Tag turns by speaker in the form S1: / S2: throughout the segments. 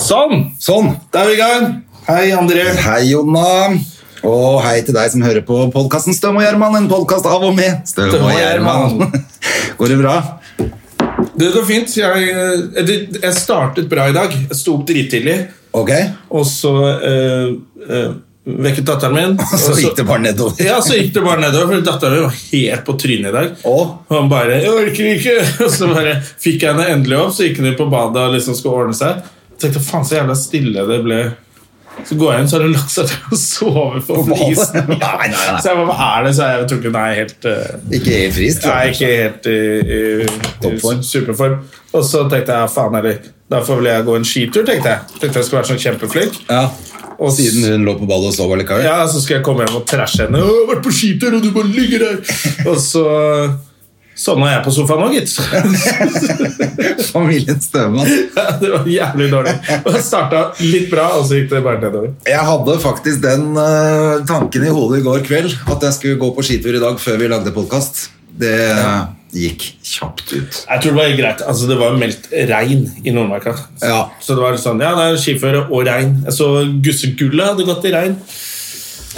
S1: Sånn!
S2: Sånn, da er vi i gang.
S1: Hei, André.
S2: Hei, Jonna. Og hei til deg som hører på podkasten Støm og Gjerman. En podkast av og med Støm
S1: Støm og
S2: og Gjerman. Går det bra?
S1: Det går fint. Jeg, eh, det- jeg startet bra i dag. Jeg sto opp drittidlig,
S2: Ok.
S1: og så eh, eh, vekket datteren min.
S2: Og så gikk det bare nedover.
S1: Ja, så gikk det bare nedover, for datteren min var helt på trynet i dag.
S2: Og?
S1: han bare 'Jeg orker ikke!' Og så bare fikk jeg henne endelig opp, så gikk hun inn på badet og liksom skulle ordne seg. Jeg tenkte, faen så jævla stille det ble. Så går jeg inn, så har hun lagt seg til å sove på
S2: På badet?
S1: flisen. Ja.
S2: Nei, nei, nei.
S1: Så jeg bare, hva er det? Så jeg tror ikke hun er helt eh,
S2: Ikke helt frisk. da.
S1: Nei, ikke helt i, i,
S2: Toppform.
S1: i superform. Og så tenkte jeg faen heller, derfor vil jeg gå en skitur. tenkte jeg Tenkte jeg skulle være sånn kjempeflink.
S2: Ja.
S1: Og
S2: Siden hun lå på ballet og sov allikevel.
S1: ja, så skal jeg komme hjem og trashe henne. «Å, 'Jeg har vært på skitur, og du bare ligger der!' Og så sovna jeg på sofaen òg, gitt.
S2: Familien Støvmann.
S1: det var jævlig dårlig. Og jeg starta litt bra, og så gikk det bare nedover.
S2: Jeg hadde faktisk den eh, tanken i hodet i går kveld at jeg skulle gå på skitur i dag før vi lagde podkast. Det eh, gikk kjapt ut.
S1: Jeg tror det var greit. Altså, det var meldt regn i Nordmarka.
S2: Ja.
S1: Så det var sånn, ja, det er skiføre og regn. Jeg så Gussegullet hadde gått i regn.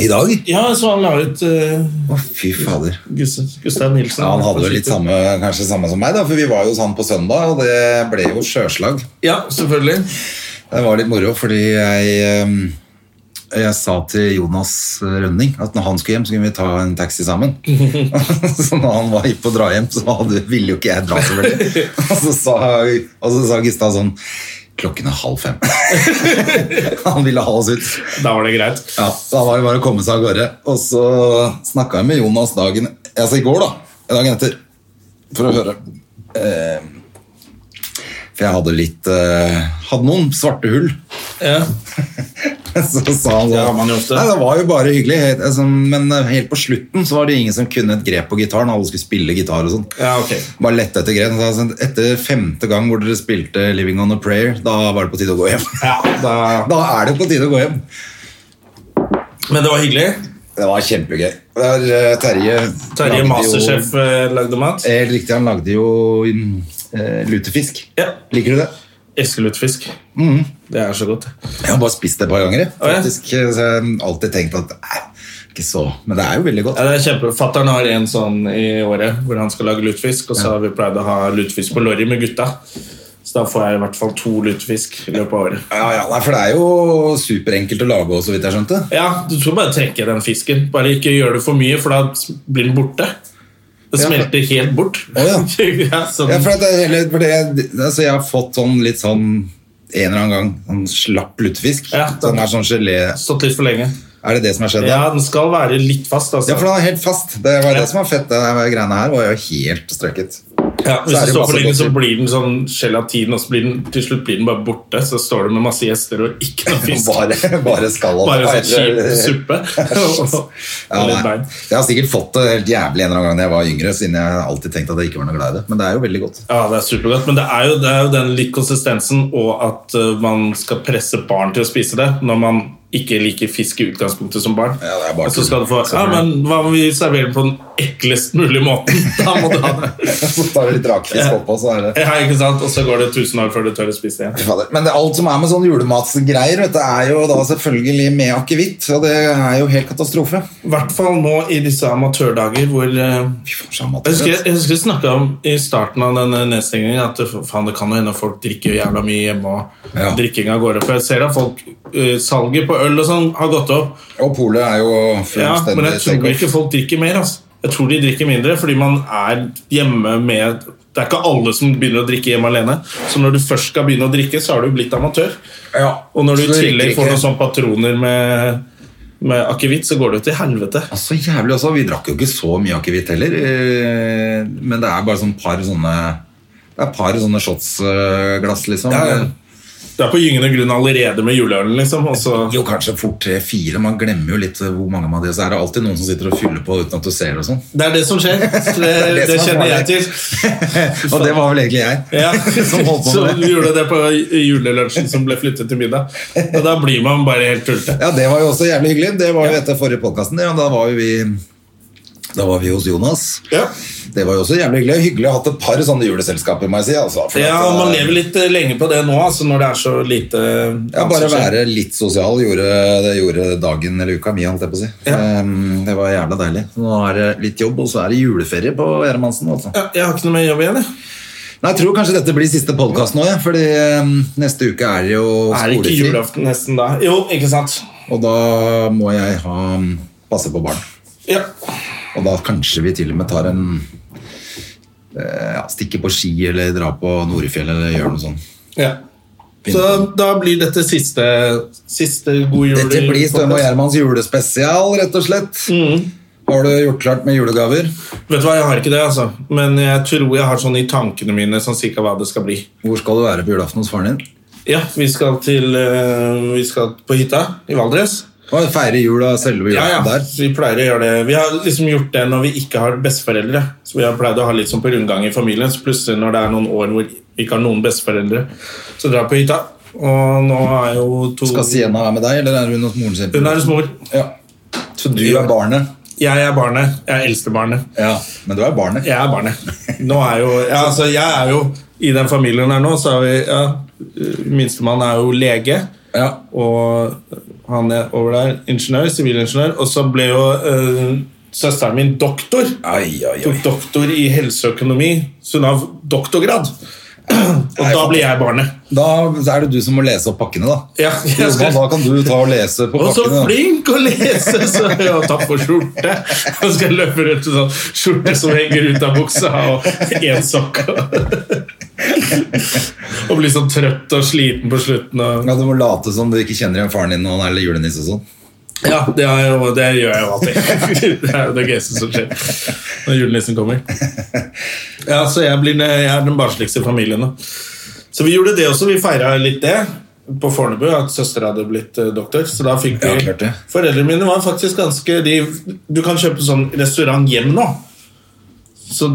S2: I dag?
S1: Ja, så han la ut eh,
S2: Å, fy fader.
S1: Gustav, Gustav Nilsen.
S2: Ja, Han hadde jo litt samme, kanskje samme som meg, da, for vi var jo sånn på søndag, og det ble jo sjøslag.
S1: Ja, selvfølgelig.
S2: Det var litt moro, fordi jeg, ehm, jeg sa til Jonas Rønning at når han skulle hjem, så kunne vi ta en taxi sammen. så når han var hypp på å dra hjem, så hadde, ville jo ikke jeg dra, selvfølgelig. og, så sa, og så sa Gustav sånn Klokken er halv fem. han ville ha oss ut.
S1: Da var det greit.
S2: Ja, så da var det bare å komme seg av gårde. Og så snakka jeg med Jonas dagen Altså i går, da. Dagen etter. For å høre. Eh, for jeg hadde litt eh, Hadde noen svarte hull.
S1: Ja.
S2: Så sa han
S1: Det har
S2: sånn
S1: man jo ofte.
S2: Nei, det var jo bare hyggelig. helt- altså, Men helt på slutten så var det ingen som kunne et grep på gitaren. Alle skulle spille gitar og sånn.
S1: ja, ok.
S2: Bare lette etter grep. Så sa han, Etter femte gang hvor dere spilte 'Living on a Prayer', da var det på tide å gå hjem.
S1: Ja, da...
S2: Da er det på tide å gå hjem.
S1: Men det var hyggelig.
S2: Det var kjempegøy. Det var, eh, Terje lagde
S1: Terje
S2: jo-
S1: Masterchef eh, lagde mat.
S2: Helt riktig, han lagde jo mm, eh, lutefisk.
S1: Ja.
S2: Liker du det?
S1: Elsker lutfisk. Det er så godt.
S2: Jeg har bare spist det et par ganger. jeg.
S1: Å, ja.
S2: Faktisk, Så jeg har alltid tenkt at nei, ikke så Men det er jo veldig godt.
S1: Ja, det er kjempe... Fatteren har en sånn i året hvor han skal lage lutfisk, og så har vi pleid å ha lutfisk på lorry med gutta. Så da får jeg i hvert fall to lutefisk i løpet av året.
S2: Ja, ja, nei, For det er jo superenkelt å lage òg, så vidt jeg skjønte.
S1: Ja, du skal bare trekke den fisken. Bare ikke gjør det for mye, for da blir den borte. Det
S2: Ja, for-
S1: smelter helt bort.
S2: Å, ja.
S1: så
S2: Ja, for, at det, er hele, for det, altså, Jeg har fått sånn litt sånn en eller annen gang sånn slapp lutefisk.
S1: Ja,
S2: Så den er sånn gelé
S1: Stått litt for lenge.
S2: Er det det som har skjedd?
S1: Ja,
S2: da?
S1: den skal være litt fast, altså.
S2: ja, for den er helt fast. Det var
S1: Ja.
S2: det som var fett. Det her greiene her var jo helt strøkket.
S1: Ja, hvis
S2: så er
S1: det
S2: det
S1: står for
S2: masse
S1: lenge, så
S2: godteri.
S1: blir den sånn gelatin, og så blir den, til slutt blir den bare borte. Så står du med masse gjester og ikke noe fisk.
S2: Bare, bare skall og
S1: Bare sånn
S2: Nei, det-
S1: kjip suppe. og
S2: Ja,
S1: og litt
S2: nei.
S1: bein.
S2: jeg har sikkert fått det helt jævlig en eller annen gang da jeg var yngre, siden jeg alltid tenkte at jeg ikke var noe glad i det. Men det er jo veldig godt.
S1: Ja, det er supergodt, men det er, jo, det er jo den litt konsistensen og at eh, man skal presse barn til å spise det når man ikke liker fisk i utgangspunktet som barn.
S2: Ja, det er bare
S1: og så skal du få
S2: tull.
S1: Ja, men hva om vi serverer det på den eklest mulige måten? Da må du ha det.
S2: Så tar du litt rakfisk oppå, så er det
S1: Ja, ikke sant? Og så går det tusen år før du tør å spise det igjen.
S2: Fy fader. Men det, alt som er med sånne julematsgreier, vet du, er jo da selvfølgelig med akevitt. Og det er jo helt katastrofe.
S1: I hvert fall nå i disse amatørdager hvor eh,
S2: Fy faen, så
S1: Jeg husker,
S2: amatørrett.
S1: jeg husker jeg snakka om i starten av denne nedstengningen at det- faen, det kan jo hende folk drikker jo jævla mye hjemme. og
S2: Ja.
S1: drikking av gårde, for jeg ser at folk, eh, Salget på øl og sånn har gått opp.
S2: Og polet er jo
S1: Ja,
S2: fullstendig
S1: men jeg tror
S2: take-off.
S1: ikke folk drikker mer. Altså. Jeg tror de drikker mindre fordi man er hjemme med Det er ikke alle som begynner å drikke hjemme alene. Så når du først skal begynne å drikke, så har du blitt amatør.
S2: Ja.
S1: Og når du
S2: Så
S1: i
S2: det
S1: tillegg
S2: rekker
S1: får sånn-
S2: ikke.
S1: noen sånne patroner med, med akevitt, så går det jo til helvete.
S2: Altså, jævlig også. Vi drakk jo ikke så mye akevitt heller. eh, Men det er bare sånn par sånne Det er par sånne shotsglass, eh, liksom.
S1: Ja, ja. Det er på gyngende grunn allerede med juleølen, liksom. Og så
S2: Jo, kanskje fort tre-fire. Man glemmer jo litt eh, hvor mange man har. Så er det alltid noen som sitter og fyller på uten at du ser det og sånn.
S1: Det er det som skjer. Det,
S2: det
S1: det
S2: som er
S1: kjenner jeg
S2: farlig.
S1: til.
S2: Og det var vel egentlig jeg
S1: Ja.
S2: som holdt på
S1: Så
S2: med det.
S1: gjorde det på julelunsjen som ble flyttet til middag. Og da blir man bare helt tullete.
S2: Ja, det var jo også jævlig hyggelig. Det var jo etter forrige podkasten. Ja, da var jo vi da var vi hos Jonas.
S1: Ja.
S2: Det var jo også jævlig hyggelig. Hyggelig å ha hatt et par sånne juleselskaper, må jeg si. Altså, for
S1: ja,
S2: at, eh,
S1: man lever litt eh, lenge på det nå, altså når det er så lite
S2: Ja, bare være litt sosial gjorde, det gjorde dagen eller uka mi, holdt jeg på å si.
S1: Ja.
S2: Ehm, Det var jævla deilig. Nå er det litt jobb, og så er det juleferie på Gjermansen. Altså.
S1: Ja, jeg har ikke noe mer jobb igjen, jeg.
S2: Nei, Jeg tror kanskje dette blir siste podkast nå, ja, fordi ehm, neste uke er det jo
S1: Er det ikke
S2: skolefri.
S1: julaften nesten da? Jo, ikke sant?
S2: Og da må jeg ha passe på barn.
S1: Ja.
S2: Og da kanskje vi til og med tar en eh, ja, Stikker på ski eller drar på Norefjell eller gjør noe sånt.
S1: ja. Så da blir dette siste, siste god jul.
S2: Dette blir Støme og Gjermans julespesial, rett og slett.
S1: Mm.
S2: Har du gjort klart med julegaver?
S1: Vet du hva, jeg har ikke det, altså. Men jeg tror jeg har sånn i tankene mine sånn cirka hva det skal bli.
S2: Hvor skal du være på julaften hos faren din?
S1: Ja, vi skal til eh, Vi skal på hytta i Valdres.
S2: Hva, Feire jul av selve
S1: Ja, ja.
S2: julaften der?
S1: Så Vi pleier å gjøre det Vi har liksom gjort det når vi ikke har besteforeldre. Så vi har pleid å ha litt sånn på rundgang i familien. Så plutselig når det er noen år hvor vi ikke har noen besteforeldre, så drar jeg på hytta. Og nå er jo to
S2: Skal Sienna være med deg, eller er hun hos moren sin?
S1: Hun er hos mor.
S2: Ja. Så du er barnet?
S1: Jeg er barnet. Jeg er eldstebarnet.
S2: Ja, men du er barnet.
S1: Jeg er barnet. Nå er jo ja, altså, Jeg er jo i den familien her nå, så er vi ja, Minstemann er jo lege.
S2: Ja.
S1: og han er over der ingeniør, sivilingeniør, og så ble jo eh, søsteren min doktor.
S2: Ai, ai, ai.
S1: Tok doktor i helseøkonomi, så hun har doktorgrad. og da blir jeg barnet.
S2: Da er det du som må lese opp pakkene, da.
S1: Ja,
S2: Jo,
S1: jeg skal...
S2: Da kan du ta og lese på
S1: Og så
S2: pakkene. da.
S1: flink å lese! Så jeg har tatt på skjorte. Og skal løpe rundt med sånn skjorte som henger ut av buksa, og én sokk. og blir sånn trøtt og sliten på slutten. Og...
S2: Ja, Du må late som du ikke kjenner igjen faren din når han er julenisse og sånn.
S1: Ja, det, er jo, det gjør jeg jo alltid. Det er jo det gøyeste som skjer når julenissen kommer. Ja, så jeg, blir, jeg er den barnsligste i familien. Da. Så vi gjorde det også. Vi feira litt det på Fornebu, at søstera hadde blitt eh, doktor. Så da fikk vi
S2: Ja, klart det.
S1: Foreldrene mine var faktisk ganske de, Du kan kjøpe sånn restaurant hjem nå. Så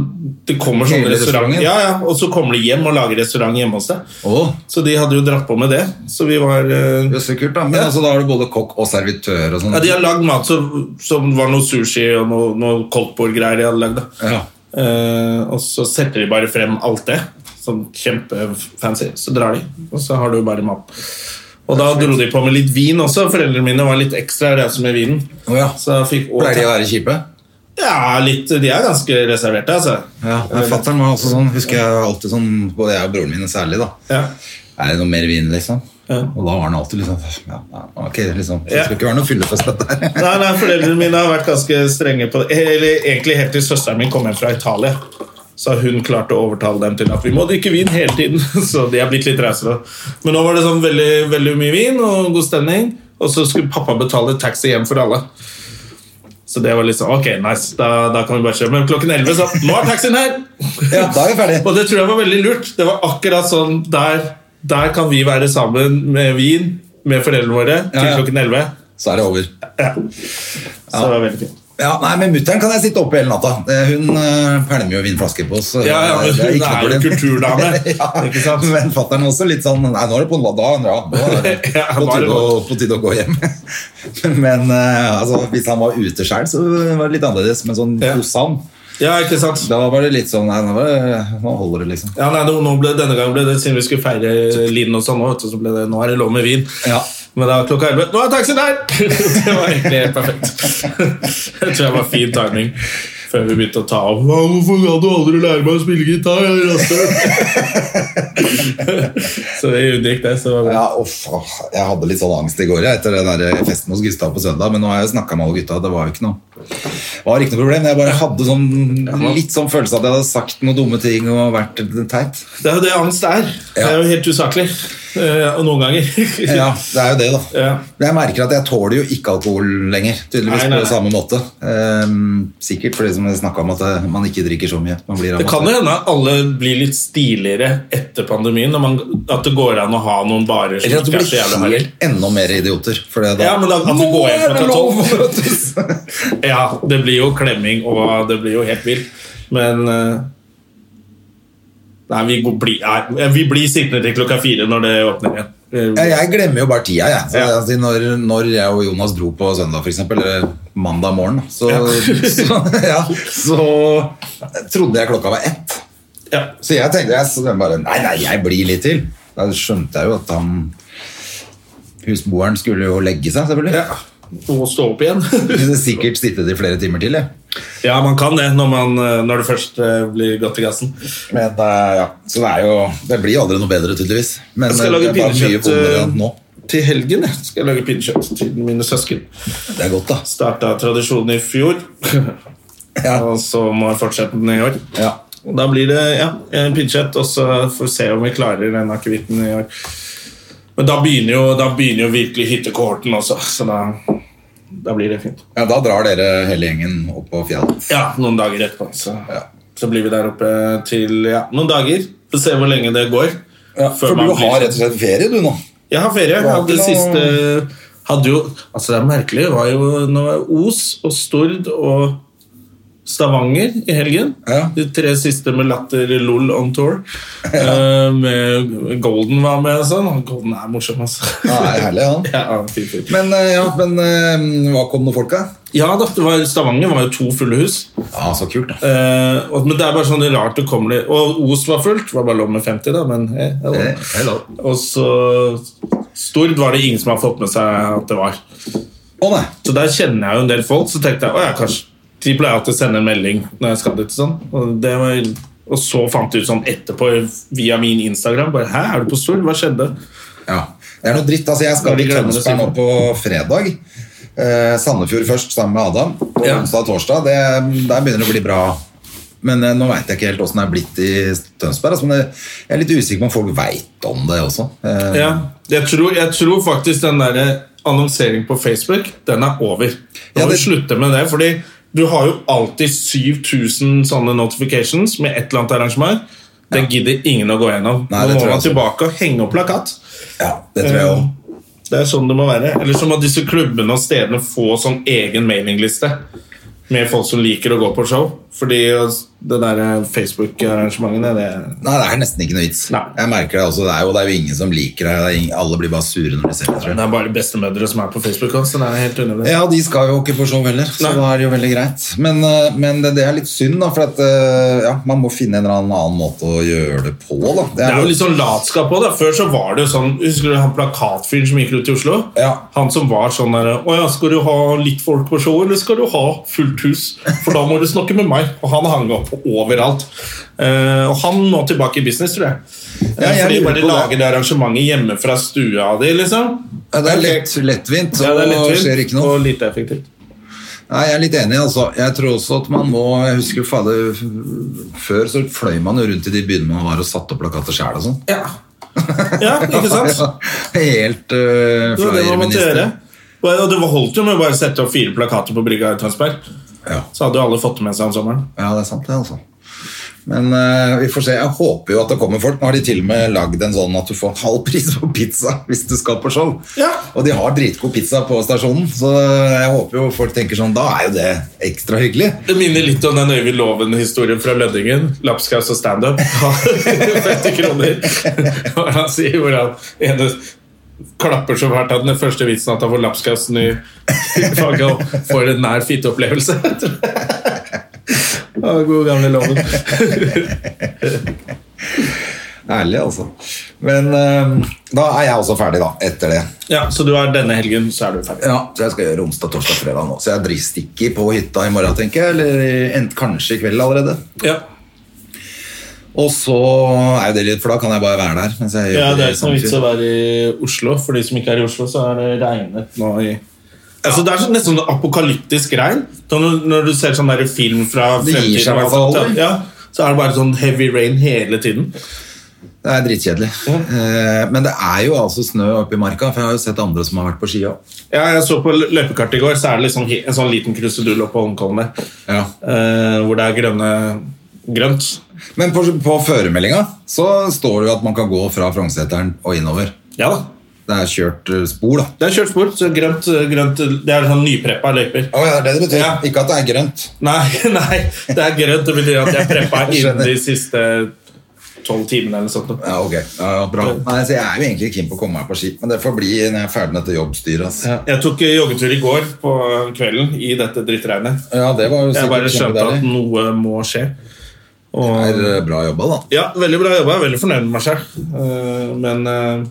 S1: det kommer sånn
S2: Hele
S1: restaurant
S2: restauranten?
S1: ja, ja, Og så kommer de hjem og lager restaurant hjemme hos deg.
S2: Å,
S1: Så de hadde jo dratt på med det. Så vi var eh,
S2: det er så kult da. Men altså, da har du både kokk og servitør og sånn.
S1: ja, De har lagd mat som, som var noe sushi og noe, noe koldtbordgreier de hadde lagd. da.
S2: Ja.
S1: Eh, og så setter de bare frem alt det, sånn kjempefancy. Så drar de, og så har du bare mat. Og da dro de på med litt vin også. Foreldrene mine var litt ekstra rause med vinen.
S2: Å ja.
S1: Så jeg fikk
S2: Pleier de å være kjipe?
S1: Ja, litt, de er ganske reserverte, altså.
S2: Ja, men Fattern var også sånn, husker jeg alltid sånn, både jeg og broren min særlig, da.
S1: Ja.
S2: Er det noe mer vin, liksom?
S1: Ja.
S2: Og da var han alltid liksom ja, ja, Ok, liksom. Det
S1: Ja.
S2: skal ikke være noe fyllefest, dette her.
S1: Nei, nei, Foreldrene mine har vært ganske strenge på det. Eller egentlig helt til søsteren min kom hjem fra Italia. Så hun klarte å overtale dem til at vi må drikke vin hele tiden. Så de er blitt litt rausere. Men nå var det sånn veldig, veldig mye vin og god stemning. Og så skulle pappa betale taxi hjem for alle. Så det var liksom Ok, nice. Da, da kan vi bare kjøre. Men klokken 11 så Nå er taxien her!
S2: Ja, da er vi ferdige.
S1: Og det tror jeg var veldig lurt. Det var akkurat sånn Der, der kan vi være sammen med vin med foreldrene våre til
S2: Ja, ja.
S1: klokken 11.
S2: Så er det over.
S1: Ja. Så det var veldig fint.
S2: Ja, nei, men mutter'n kan jeg sitte oppe hele natta. Eh, Hun eh, pælmer jo vinflasker på oss. så
S1: Ja, ja, men
S2: det
S1: hun
S2: ikke noe
S1: er jo
S2: problem.
S1: kulturdame,
S2: ja,
S1: ikke sant?
S2: Men fatter'n også litt sånn Nei, nå er det på da, ja, nå er det
S1: Ja,
S2: på,
S1: nå er det
S2: tide å, på tide å gå hjem. men eh, altså, hvis han var ute sjøl, så var det litt annerledes. Men sånn
S1: Ja.
S2: hos han,
S1: Ja, ikke sant?
S2: da var det litt sånn Nei, nå, var det, nå holder det, liksom.
S1: Ja, nei, nå nå ble, Denne gangen ble det siden vi skulle feire Linn og sånn, nå, vet du, så ble det nå er det lov med vin.
S2: Ja.
S1: Men da klokka 11 Nå er taxien her! Det var egentlig helt perfekt. Jeg tror jeg var fin timing før vi begynte å ta av. «Hva, Hvorfor kan du aldri lære meg å spille gitar? Jeg er rasshøl!» så det unngikk det. Så det var bra.
S2: Ja, uff, åh, jeg hadde litt sånn angst i går jeg, etter den der festen hos Gustav på søndag, men nå har jeg snakka med alle gutta. Det var jo ikke noe var ikke noe problem. Jeg bare hadde sånn, litt sånn følelse av at jeg hadde sagt noen dumme ting og vært teit.
S1: Det er jo det angst er. Det er jo helt usaklig. Eh, og noen ganger.
S2: Ja, det er jo det, da.
S1: Ja.
S2: Men Jeg merker at jeg tåler jo ikke alkohol lenger. Tydeligvis
S1: Nei, nei,
S2: på
S1: nei.
S2: samme måte. Ehm, sikkert fordi som jeg snakket om at eh, man ikke drikker så mye. Man blir
S1: Det kan jo hende at alle blir litt stiligere etter pandemien. Når man, at det går an å ha noen barer som
S2: Eller at du
S1: ikke er så jævla
S2: blir
S1: harry.
S2: helt enda mer idioter. For det da,
S1: Ja, men da- at vi
S2: Nå
S1: går hjem
S2: er det
S1: klokka
S2: lov
S1: tolv.
S2: å møtes!
S1: Ja, det blir jo klemming, og det blir jo helt vilt. Men eh, Nei, vi, går- blir- nei, eh, vi blir sittende til klokka fire når det åpner igjen. Eh,
S2: Ja, jeg glemmer jo bare tida, jeg. Så,
S1: Ja.
S2: altså, når, når jeg og Jonas dro på søndag, for eksempel, eller mandag morgen, da, så, så, ja, så trodde jeg klokka var ett.
S1: Ja.
S2: Så jeg tenkte jeg, så den bare, Nei, nei, jeg blir litt til. Da skjønte jeg jo at han Husboeren skulle jo legge seg, selvfølgelig.
S1: Ja. Og stå opp igjen.
S2: Kunne sikkert sittet i flere timer til, jeg.
S1: ja, man kan det når, man, eh, når det først eh, blir godt i gassen.
S2: Men, eh, ja. Så det, er jo, det blir jo aldri noe bedre, tydeligvis. Men
S1: Jeg skal
S2: eh,
S1: lage
S2: det er bare mye
S1: pinnekjøtt
S2: vondere enn nå.
S1: eh, til helgen. Jeg skal jeg lage pinnekjøtt til mine søsken.
S2: Det er godt, da.
S1: Starta tradisjonen i fjor,
S2: Ja.
S1: og så må jeg fortsette den i år.
S2: Ja.
S1: Og Da blir det ja, en pinnekjøtt, og så får vi se om vi klarer den akevitten i år. Men da begynner jo, da begynner jo virkelig hyttekohorten også, så da, da blir det fint.
S2: ja, da drar dere hele gjengen opp på fjellet.
S1: Ja, noen dager etterpå. Så,
S2: Ja.
S1: så blir vi der oppe til ja, noen dager. Får se hvor lenge det går.
S2: Ja,
S1: før
S2: for
S1: man
S2: du
S1: blir-
S2: har rett og slett ferie, du, nå.
S1: Jeg har ferie. Jeg
S2: Var
S1: hadde
S2: ikke noe-
S1: siste hadde jo, Altså, det er merkelig. Det var jo nå var jeg Os og Stord og Stavanger i helgen.
S2: Ja.
S1: De tre siste med Latter LOL on tour. Eh, med Golden var med og sånn. Og Golden er morsom, altså.
S2: Ja, det er herlig, han.
S1: Ja, han er en fin fyr.
S2: Men, eh, ja, men eh, hva kom nå folka?
S1: ja da, det var, Stavanger var jo to fulle hus.
S2: Ja, så kult, da.
S1: Eh, og, men det er bare sånn det er rart det kommer litt Og Os var fullt. Var bare lov med 50, da, men eh, hello.
S2: Eh, hello.
S1: Og så Stord var det ingen som har fått med seg at det var.
S2: Å nei.
S1: Så der kjenner jeg jo en del folk, så tenkte jeg, å ja, kanskje De pleier alltid å sende en melding når jeg skal dit sånn. Og, det var, og så fant jeg ut sånn etterpå via min Instagram, bare, hæ, er du på Stord? Hva skjedde?
S2: Ja. Det er noe dritt. altså Jeg skal
S1: Ja, de
S2: til
S1: glemmer å si
S2: Tønsberg nå på fredag. Eh, Sandefjord først, sammen med Adam. På
S1: Ja.
S2: onsdag og torsdag. Det, der begynner det å bli bra. Men eh, nå veit jeg ikke helt åssen det er blitt i Tønsberg. Altså, men jeg, jeg er litt usikker på om folk veit om det også. Eh,
S1: Ja, jeg tror, jeg tror faktisk den der annonsering på Facebook, den er over. Nå
S2: Ja,
S1: må vi
S2: det-
S1: slutte med det, fordi du har jo alltid 7000 sånne notifications med et eller annet arrangement. Det gidder ingen å gå gjennom.
S2: Nei, det
S1: Nå må
S2: tror jeg
S1: man
S2: også.
S1: tilbake og henge opp plakat.
S2: ja, det tror
S1: Eh.
S2: jeg òg.
S1: Det er sånn det må være. Eller så må disse klubbene og stedene få sånn egen mailingliste med folk som liker å gå på show. Fordi det der Facebook-arrangementene, det
S2: Nei, det er nesten ikke noe vits.
S1: Nei.
S2: Jeg merker Det også, det er, jo, det er jo ingen som liker det. det er ingen, alle blir bare sure når de ser det. tror jeg.
S1: det er bare bestemødre som er på Facebook. også, Så det er helt unødvendig.
S2: Ja, de skal jo ikke på show heller, så
S1: Nei.
S2: da er det jo veldig greit. Men, eh, men det, det er litt synd, da, for at, eh, ja, man må finne en eller annen annen måte å gjøre det på. Da.
S1: Det er jo litt sånn latskap òg. Før så var det jo sånn Husker du han plakatfyren som gikk rundt i Oslo?
S2: Ja.
S1: Han som var sånn der Å ja, skal du ha litt folk på showet, eller skal du ha fullt hus? For da må du snakke med meg. Og han hang opp overalt. Eh, og han må tilbake i business, tror jeg. Eh,
S2: Ja, jeg
S1: Fordi bare
S2: lurer på det.
S1: lager det arrangementet hjemme fra stua di, liksom.
S2: Ja, det er
S1: Ok.
S2: lett, lettvint,
S1: Ja, det er
S2: og
S1: lettvint,
S2: skjer ikke noe.
S1: Og lite effektivt.
S2: Nei, jeg er litt enig, altså. Jeg tror også at man må Jeg husker fader, f- før så fløy man jo rundt i de byene man var og satte opp plakater sjæl og sånn.
S1: Ja. ja, ikke sant?
S2: Helt uh,
S1: Det var det man måtte gjøre.
S2: fløyerminister.
S1: Og det var- holdt jo med å bare sette opp fire plakater på Brygga i Tønsberg.
S2: Ja.
S1: Så hadde jo alle fått det med seg om sommeren.
S2: ja, det er sant, det, altså. Men eh, vi får se. Jeg håper jo at det kommer folk. Nå har de til og med lagd en sånn at du får halv pris på pizza hvis du skal på show.
S1: Ja.
S2: Og de har dritgod pizza på stasjonen, så jeg håper jo folk tenker sånn Da er jo det ekstra hyggelig.
S1: Det minner litt om den Øyvind Loven-historien fra Lønningen. Lapskaus og standup. Ja, 50 kroner. Hva er det han sier? Hvor han ene klapper så hardt at den første vitsen at han får lapskausen i i fanget og får en nær fitteopplevelse. Å, god gamle Loven.
S2: Ærlig, altså. Men eh, da er jeg også ferdig, da. Etter det.
S1: Ja, Så du er denne helgen, så er du ferdig.
S2: Ja, så jeg skal gjøre onsdag, torsdag, fredag nå. Så jeg dri- stikker på hytta i morgen, tenker jeg. Eller i- ent- kanskje i kveld allerede.
S1: Ja,
S2: Og så er jo det litt, for da kan jeg bare være der. Mens jeg gjør
S1: ja Det er ikke
S2: samme
S1: noe vits
S2: tid.
S1: å være i Oslo. For de som ikke er i Oslo, så er det regnet nå i Altså, det er sånn, nesten sånn apokalyptisk regn. Da Når, når du ser sånn der film fra
S2: Det gir seg i hvert
S1: og
S2: fall
S1: sånt,
S2: aldri.
S1: ja, Så er det bare sånn heavy rain hele tiden.
S2: Det er dritkjedelig. Eh, Men det er jo altså snø oppe i marka, for jeg har jo sett andre som har vært på ski òg.
S1: Ja, jeg så på løpekartet i går, så er det liksom he- en sånn liten krusedull oppe på Holmenkollen der.
S2: Ja.
S1: Eh, hvor det er grønne grønt.
S2: Men på, på føremeldinga så står det jo at man kan gå fra Frognerseteren og innover.
S1: Ja da.
S2: Det er kjørt eh, spor, da.
S1: Det er kjørt spor, så grønt, grønt Det er sånn nypreppa løyper.
S2: Å ja, det er det det betyr.
S1: Ja.
S2: Ikke at det er grønt.
S1: Nei, nei, det er grønt. Det betyr at jeg preppa innen de siste tolv timene eller sånt.
S2: Ja, ok. Ja, ja, bra. Nei, så jeg er jo egentlig keen på å komme meg på ski, men det får bli når jeg er ferdig med dette jobbstyret. ass.
S1: Jeg tok eh, joggetur i går på kvelden i dette drittregnet.
S2: Ja, det var jo
S1: Jeg bare
S2: sikkert
S1: skjønte at
S2: kjempedeilig.
S1: noe må skje.
S2: Det er eh, bra jobba, da.
S1: Ja, veldig bra jobba. Jeg er veldig fornøyd med meg selv. Eh, Men eh,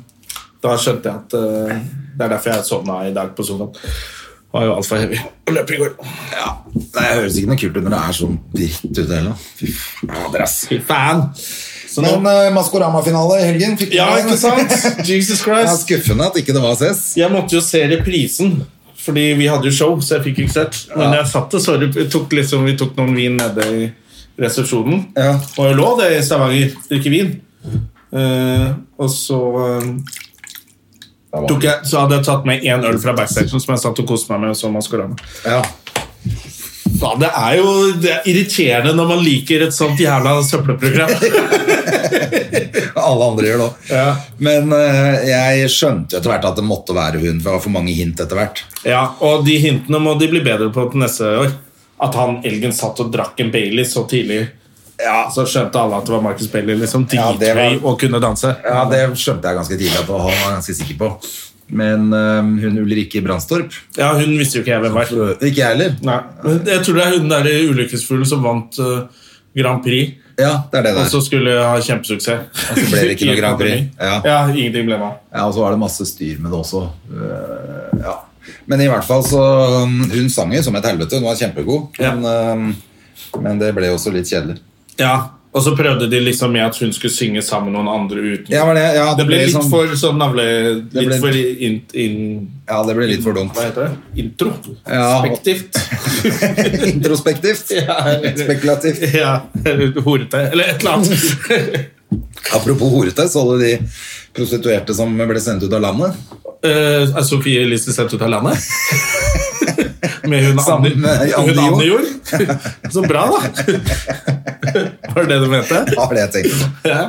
S1: da skjønte jeg at eh, det er derfor jeg sovna i dag på sofaen. Det Var jo altfor heavy å løpe i går.
S2: Ja. Nei, jeg høres ikke noe kult ut når det er sånn dritt ute heller. Fy fader, ass.
S1: Fy faen! Så nå,
S2: Men uh, Maskorama-finale i helgen fikk
S1: eh, ja,
S2: du-
S1: ikke sant? Jesus
S2: Det er
S1: Christ.
S2: skuffende at ikke det var ses.
S1: Jeg måtte jo se reprisen, fordi vi hadde jo show, så jeg fikk ikke sett. Men jeg satt og så det. Vi tok, liksom, vi tok noen vin nede i resepsjonen.
S2: Ja.
S1: Og jeg lå det i Stavanger, drikke vin. Eh, og så eh, tok jeg, så hadde jeg tatt med én øl fra backsection som jeg satt og koste meg med. og Så Maskorama.
S2: Ja.
S1: Faen, det er jo det er irriterende når man liker et sånt jævla søppelprogram.
S2: Alle andre gjør det òg.
S1: Ja.
S2: Men eh, jeg skjønte jo etter hvert at det måtte være hun, for det var for mange hint etter hvert.
S1: ja, Og de hintene må de bli bedre på til neste år. At han Elgen satt og drakk en Bailey så tidlig, ja, så skjønte alle at det var Marcus Bailey. liksom
S2: Ja,
S1: Drithøy
S2: det var-
S1: og kunne danse.
S2: Ja, Det skjønte jeg ganske tidlig at han var ganske sikker på. Men eh, hun Ulrikke Brandstorp
S1: Ja, Hun visste jo ikke jeg hvem var.
S2: Ikke jeg heller.
S1: Nei, men Jeg tror det er hun der ulykkesfuglen som vant eh, Grand Prix.
S2: Ja, det er det
S1: Og
S2: der.
S1: så skulle jeg ha kjempesuksess.
S2: Og så ble det ikke noe Grand Prix. Ja.
S1: Ja. ingenting ble med.
S2: Ja, og så var det masse styr med det også. Eh, ja. Men i hvert fall så um, Hun sang jo som et helvete, hun var kjempegod.
S1: Ja.
S2: Men, eh, men det ble jo også litt kjedelig.
S1: Ja, og så prøvde de liksom med at hun skulle synge sammen med noen andre uten.
S2: Ja, var det, ja,
S1: det, ble litt
S2: sånn-
S1: for sånn navle...
S2: Det
S1: Litt
S2: ble-
S1: for in, in,
S2: Ja, det ble litt for dumt.
S1: Hva heter det? Intro?
S2: Ja.
S1: Spektivt.
S2: Introspektivt. Spekulativt.
S1: ja, Horete, eller et eller annet.
S2: Apropos horete, så alle de prostituerte som ble sendt ut av landet
S1: Eh, er Sofie Elise sendt ut av landet? Med hun
S2: Sammen med
S1: Anne hun
S2: Anne Jo.
S1: Anne Jord? Så bra, da! Var det det du mente?
S2: Har det jeg tenkt.
S1: Ja.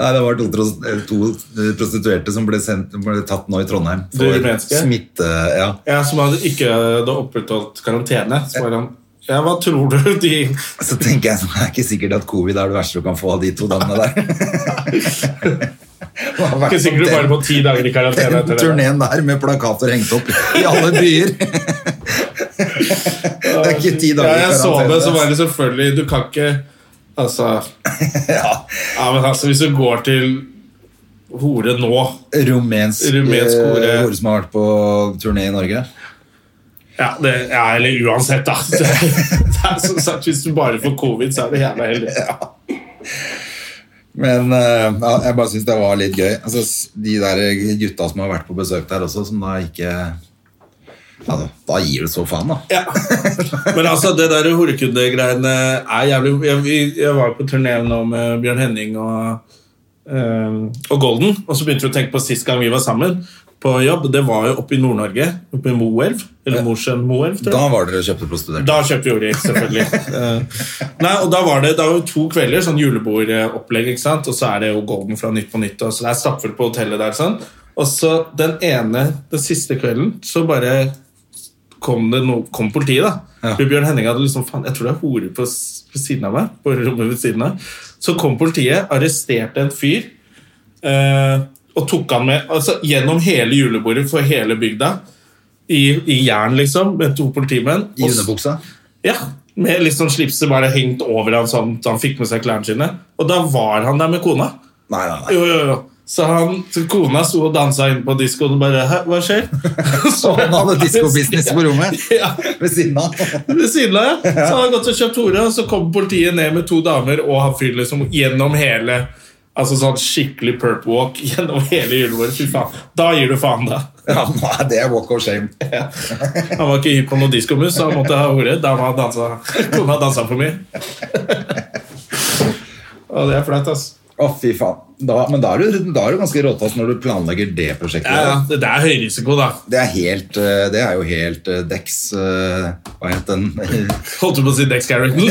S2: Nei, det var to, tros- to eh, prostituerte som ble, sendt, ble tatt nå i Trondheim
S1: Det rumenske?
S2: smitte... Ja.
S1: Ja, som hadde ikke hadde opprettholdt karantene. Så var han Ja, hva tror du de
S2: Så tenker jeg sånn, det er ikke sikkert at covid er det verste du kan få av de to damene der. Det har vært sånn
S1: Ikke sikkert du bare må ti dager i karantene
S2: den
S1: etter det.
S2: turneen der med plakater hengt opp i alle byer. Det er ikke ti
S1: Ja,
S2: dager i
S1: jeg så
S2: karantene.
S1: det, så var det selvfølgelig Du kan ikke Altså
S2: Ja,
S1: Ja, men altså, hvis du går til hore nå
S2: rumensk,
S1: Rumensk hore.
S2: eh, hore som har vært på turné i Norge.
S1: Ja, det, ja eller uansett, da. Det er som sagt, hvis du bare får covid, så er du jævla heldig.
S2: Men eh, ja, jeg bare syns det var litt gøy. Altså, s- de der gutta som har vært på besøk der også, som da ikke ja, da- Da gir du så faen, da.
S1: Ja. Men altså, det der horekundegreiene er jævlig jeg, vi- jeg var på turné nå med Bjørn Henning og, eh, og Golden, og så begynte vi å tenke på sist gang vi var sammen på jobb. Det var jo oppe i Nord-Norge, oppe i Moelv. Eller Mosjøen Moelv, tror jeg.
S2: Da var dere og kjøpte prostituerte.
S1: Da kjøpte vi ordet, selvfølgelig. Eh, Nei, og da var det, da var det to kvelder, sånn julebordopplegg, ikke sant? og så er det jo Golden fra Nytt på Nytt, og så det er stappfullt på hotellet der. sånn. Og så den ene, den siste kvelden, så bare kom det no, kom politiet, da.
S2: Ja.
S1: For Bjørn Henning hadde liksom, faen, jeg tror det er hore på, s- på siden av meg, på rommet ved siden av. Så kom politiet, arresterte en fyr, eh, og tok han med, altså gjennom hele julebordet for hele bygda, i, i jern liksom, med to politimenn.
S2: I
S1: Og s-
S2: underbuksa.
S1: ja, med litt sånn slipset bare hengt over han sånn at han fikk med seg klærne sine. Og da var han der med kona.
S2: Nei, nei, nei.
S1: Jo, jo, jo. Så, han, så kona sto og dansa inne på diskoen og bare Hæ, hva skjer?
S2: Så han hadde diskobusiness på rommet
S1: Ja,
S2: ved siden av.
S1: ved siden av, ja. Så hadde han gått og kjøpt hore, og så kom politiet ned med to damer og han fyren liksom gjennom hele Altså sånn skikkelig perp walk gjennom hele julebordet. Fy faen. Da gir du faen, da.
S2: Ja, nå er det walk of shame.
S1: Han var ikke hypp på noe diskomus, så han måtte ha hore. Dama dansa. Kona dansa for mye. Og det er flaut, ass.
S2: Å, fy faen. Da, men da er du, da er du ganske råtass når du planlegger det prosjektet.
S1: Ja, ja. Det det er høy risiko, da.
S2: Det, er helt, eh, det er jo helt eh, Dex eh, Hva het den?
S1: Holdt du på å si Dex Carrington?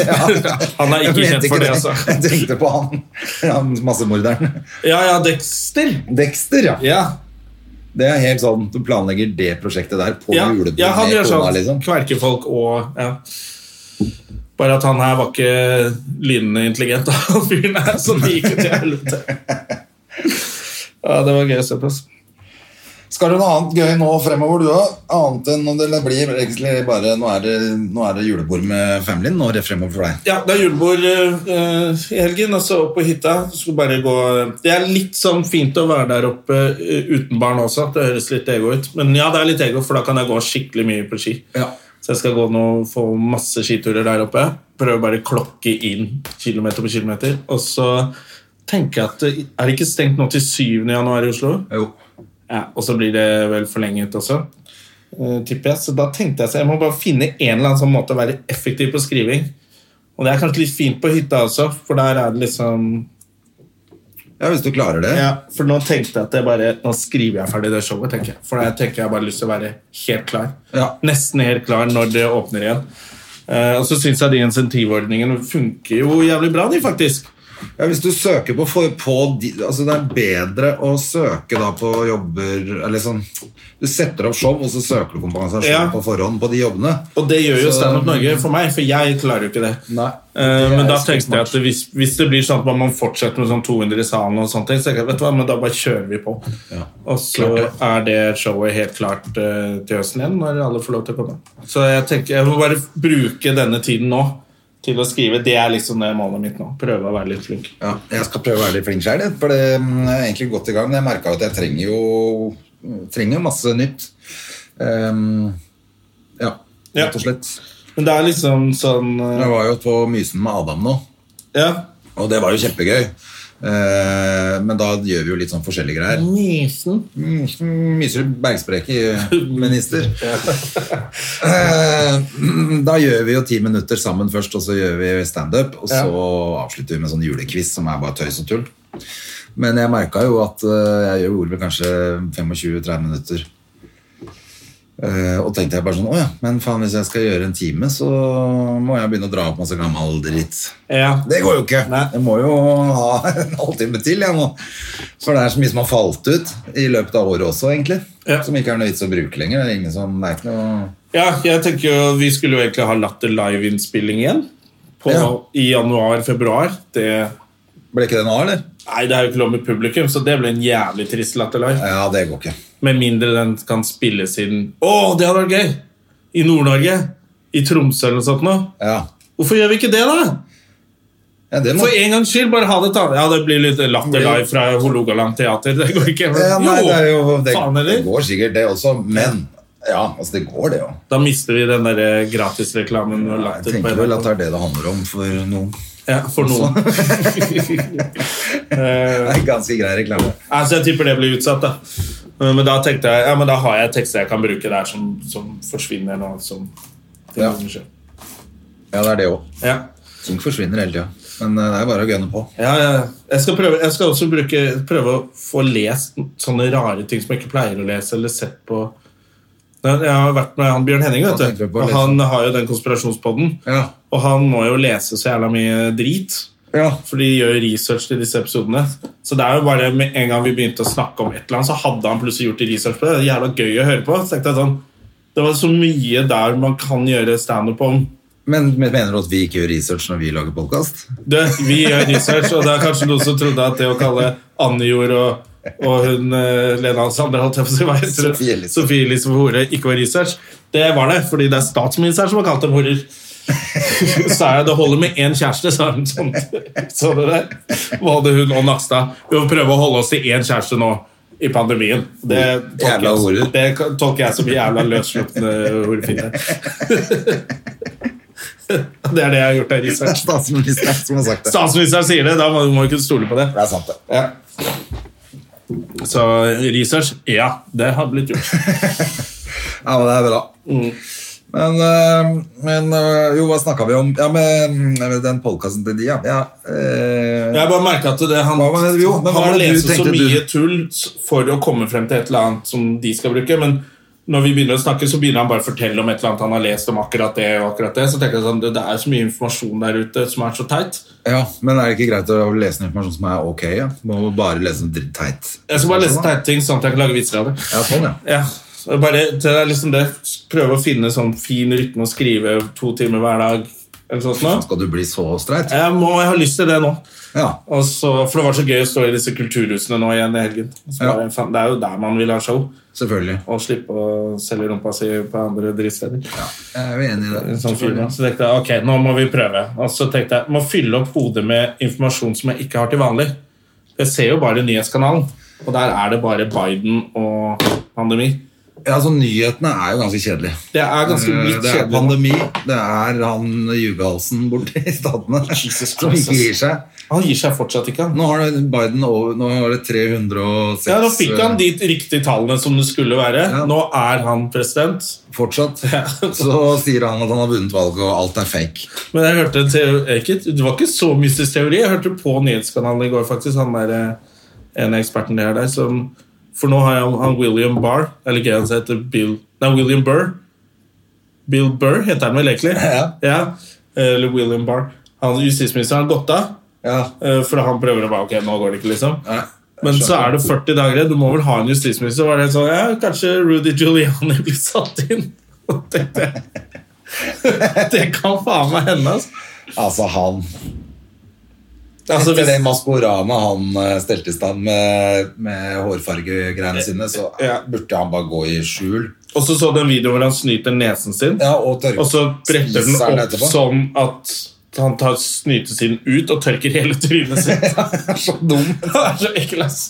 S1: Han er
S2: Jeg
S1: ikke
S2: mente
S1: kjent for det,
S2: det.
S1: altså.
S2: Jeg tenkte på han, han massemorderen.
S1: Ja, ja, Dexter.
S2: Dexter, ja.
S1: Ja,
S2: Det er helt sånn, Du planlegger det prosjektet der på
S1: ja.
S2: julebordet
S1: ja han
S2: med
S1: gjør
S2: kona,
S1: sånn.
S2: liksom.
S1: Kverker folk og ja. Bare at han her var ikke lynende intelligent, da, han fyren her, så det gikk jo til helvete. Ja, det var gøy å se på. ass.
S2: Skal du noe annet gøy nå fremover, du òg? Annet enn om det blir egentlig bare Nå er det, nå er det julebord med familien, nå er det fremover for deg.
S1: Ja, det er julebord eh, i helgen, og så opp på hytta. Så skal bare gå. Det er litt sånn fint å være der oppe eh, uten barn også. Det høres litt ego ut. Men ja, det er litt ego, for da kan jeg gå skikkelig mye på ski. Så jeg skal gå nå og få masse skiturer der oppe. Prøve å bare klokke inn kilometer på kilometer. Og så tenker jeg at det- Er det ikke stengt nå til 7. januar i Oslo?
S2: Jo.
S1: Ja, og så blir det vel forlenget også. eh, tipper jeg. Så da tenkte jeg så jeg må bare finne en eller annen sånn måte å være effektiv på skriving. Og det er kanskje litt fint på hytta også, for der er det liksom
S2: Ja, hvis du klarer det.
S1: ja, For nå tenkte jeg at jeg bare Nå skriver jeg ferdig det showet, tenker jeg. For der tenker jeg bare lyst til å være helt klar.
S2: Ja.
S1: Nesten helt klar når det åpner igjen. Eh, og så syns jeg de insentivordningene funker jo jævlig bra, de, faktisk.
S2: Ja, hvis du søker på, for, på de, altså Det er bedre å søke da på jobber eller sånn, Du setter opp show, og så søker du kompensasjon
S1: Ja.
S2: på forhånd på de jobbene.
S1: Og det gjør jo
S2: Så-
S1: Standup Norge for meg, for jeg klarer jo ikke det.
S2: Nei.
S1: Eh,
S2: Det
S1: men
S2: er
S1: da
S2: smart.
S1: tenkte jeg at hvis, hvis det blir sånn at man må fortsette med sånn 200 i salen, og sånne ting, så tenker jeg, vet du hva, men da bare kjører vi på. Og så er det showet helt klart eh, til høsten igjen, når alle får lov til å komme. Så jeg tenker, jeg må bare bruke denne tiden nå til å skrive. Det er liksom det målet mitt nå. Prøve å være litt flink.
S2: Ja, jeg skal prøve å være litt flink sjøl, for det mm, jeg er egentlig godt i gang. men Jeg merka at jeg trenger jo mm, trenger masse nytt. Ehm, ja,
S1: Ja.
S2: rett og slett.
S1: Men det er liksom sånn eh,
S2: Jeg var jo på Mysen med Adam nå.
S1: Ja.
S2: Og det var jo kjempegøy. Eh, men da gjør vi jo litt sånn forskjellige greier.
S1: Mysen.
S2: Mm, Myser bergspreke minister. Eh, mm, da gjør vi jo ti minutter sammen først, og så gjør vi standup. Og så avslutter vi med sånn julequiz som er bare tøys og tull. Men jeg merka jo at eh, jeg gjorde vel kanskje 25-30 minutter. Eh, og tenkte jeg bare sånn Å ja, men faen, hvis jeg skal gjøre en time, så må jeg begynne å dra opp masse gammel dritt.
S1: Ja.
S2: Det går jo ikke.
S1: Nei.
S2: Jeg må jo ha en halvtime til. Jeg nå. For det er så mye som har falt ut i løpet av året også, egentlig.
S1: Ja.
S2: Som ikke er noe vits å bruke lenger. Det er ingen som det er ikke noe...
S1: Ja, jeg tenker jo Vi skulle jo egentlig ha latt det live-innspilling igjen. På,
S2: Ja.
S1: I januar-februar. Det
S2: Ble ikke det noe av, eller?
S1: Nei, det er jo ikke lov med publikum, så det ble en jævlig trist Latter Live.
S2: Ja, det går ikke.
S1: Med mindre den kan spilles inn Å, det hadde vært gøy! I Nord-Norge. I Tromsø eller noe sånt nå.
S2: Ja,
S1: Hvorfor gjør vi ikke det, da?
S2: ja det må...
S1: For en gangs skyld, bare ha det ta. Ja, det blir litt Latter
S2: Ja.
S1: Live fra Hålogaland teater. Det går ikke.
S2: ja, nei, det, er jo, det,
S1: faen
S2: det
S1: heller.
S2: går sikkert, det også. Men ja, altså, det går, det jo.
S1: Da mister vi den der eh, gratisreklamen. og
S2: Jeg
S1: latter på
S2: tenker
S1: NRK.
S2: vel at det er det det handler om for noen.
S1: Ja, for noen. Eh,
S2: Det er ganske grei reklame.
S1: Altså, jeg tipper det blir utsatt, da. Eh, Men da tenkte jeg, ja, men da har jeg tekster jeg kan bruke der som, som forsvinner nå. Som
S2: Ja. Ja, det er det òg.
S1: Ja.
S2: Ting forsvinner hele tida. Men eh, det er bare å gønne på.
S1: Ja, ja. Jeg skal, prøve, jeg skal også bruke, prøve å få lest sånne rare ting som jeg ikke pleier å lese, eller sett på Jeg har vært med han Bjørn Henning,
S2: Hva
S1: vet du.
S2: tenker du på å
S1: Og
S2: lese?
S1: han har jo den konspirasjonspodden.
S2: Ja.
S1: Og han må jo lese så jævla mye drit.
S2: Ja.
S1: For de gjør jo research til disse episodene. Så det er jo bare med en gang vi begynte å snakke om et eller annet, så hadde han plutselig gjort research på det. Det er jævla gøy å høre på. Så tenkte jeg sånn, det var så mye der man kan gjøre standup om.
S2: Men mener du at vi ikke gjør research når vi lager podkast?
S1: Det, vi gjør research, og det er kanskje noen som trodde at det å kalle Annejord og, og hun eh, Lena Sander, holdt jeg på å si, hva heter
S2: Sofie
S1: hun?
S2: Elise.
S1: Sofie Elise for hore ikke var research. Det var det, fordi det er statsministeren som har kalt dem horer. Sa jeg det holder med én kjæreste, sa hun sånn. Så du det? Både hun og Nakstad. Vi må prøve å holde oss til én kjæreste nå. I pandemien. Det tolker,
S2: Jævla horer.
S1: jeg, det tolker jeg som jævla løsslupne horefinne. Det er det jeg har gjort av research.
S2: Statsministeren som har sagt det.
S1: Statsministeren sier det, da må må du ikke stole på det.
S2: Det er sant, det.
S1: Ja. Så research, ja, det har blitt gjort. Mm.
S2: Ja, men det er bra. Men, eh, men eh, jo, hva snakka vi om? Ja, men eh, den podkasten til de, ja. ja eh,
S1: Jeg bare merket at det, han,
S2: Hva var det- jo, men hva
S1: han
S2: var det du
S1: leser så
S2: tenkte du-
S1: mye tull s- for å komme frem til et eller annet som de skal bruke, men når vi begynner å snakke, så begynner han bare å fortelle om et eller annet han har lest om akkurat det og akkurat det. Så tenker jeg sånn, det, det er så mye informasjon der ute som er så teit.
S2: ja, men er det ikke greit å lese noe informasjon som er ok? Ja? Må bare lese noe dritteit.
S1: Jeg skal bare lese teite ting sånn at jeg kan lage vitser av det.
S2: Ja, sånn, ja.
S1: Ja, så det er bare, det er liksom det. Prøve å finne sånn fin rytme og skrive to timer hver dag, eller sånt nå.
S2: Skal du bli så streit?
S1: Jeg må, jeg har lyst til det nå.
S2: Ja.
S1: Og så, for det var så gøy å stå i disse kulturhusene nå igjen i helgen. Så
S2: Ja.
S1: bare, faen, Det er jo der man vil ha show.
S2: Selvfølgelig.
S1: og slippe å selge rumpa si på andre drittsteder.
S2: Jeg er jo enig i det.
S1: En sånn fyr, ja. Så tenkte jeg ok, nå må vi prøve. Og så tenkte jeg må fylle opp hodet med informasjon som jeg ikke har til vanlig. Jeg ser jo bare nyhetskanalen, og der er det bare Biden og pandemi.
S2: Ja, altså Nyhetene er jo ganske kjedelige.
S1: Det er ganske
S2: Eh,
S1: litt
S2: Det er
S1: kjedelig.
S2: pandemi, det er han jugehalsen borte i statene
S1: Jesus
S2: som
S1: Christ,
S2: ikke
S1: ass.
S2: gir seg.
S1: Han gir seg fortsatt ikke. han.
S2: Nå har det Biden over, nå har det 306
S1: Ja, Nå fikk han de riktige tallene som det skulle være.
S2: Ja.
S1: Nå er han president.
S2: eh, fortsatt. Så sier han at han har vunnet valget, og alt er fake.
S1: Men jeg hørte en teori, ikke, Det var ikke så mystisk teori. Jeg hørte på nyhetskanalen i går, faktisk. Han der, eh, en av eksperten der, der som For nå har jeg han William Barr, eller ikke han heter Bill Nei, William Burr. Bill Burr heter han vel egentlig.
S2: Ja.
S1: Eller William Barr. Han justisministeren har gått av,
S2: Ja.
S1: eh, for han prøver å bare Ok, nå går det ikke, liksom.
S2: Nei,
S1: Men så er det 40 dager igjen. Du må vel ha en justisminister? Var det sånn, ja, Kanskje Rudy Giuliani blir satt inn? Og tenkte jeg Det kan faen meg hende, altså.
S2: altså han
S1: Altså,
S2: Etter
S1: hvis,
S2: det Maskorama han eh, stelte i stand med, med hårfargegreiene sine, så
S1: Ja.
S2: burde han bare gå i skjul.
S1: og så så du en video hvor han snyter nesen sin,
S2: Ja, og tørke
S1: og så bretter den
S2: Spiser den
S1: opp
S2: etterpå.
S1: sånn at han tar snytesiden ut og tørker hele trynet sitt.
S2: er så dum.
S1: Det er så ekkel, ass.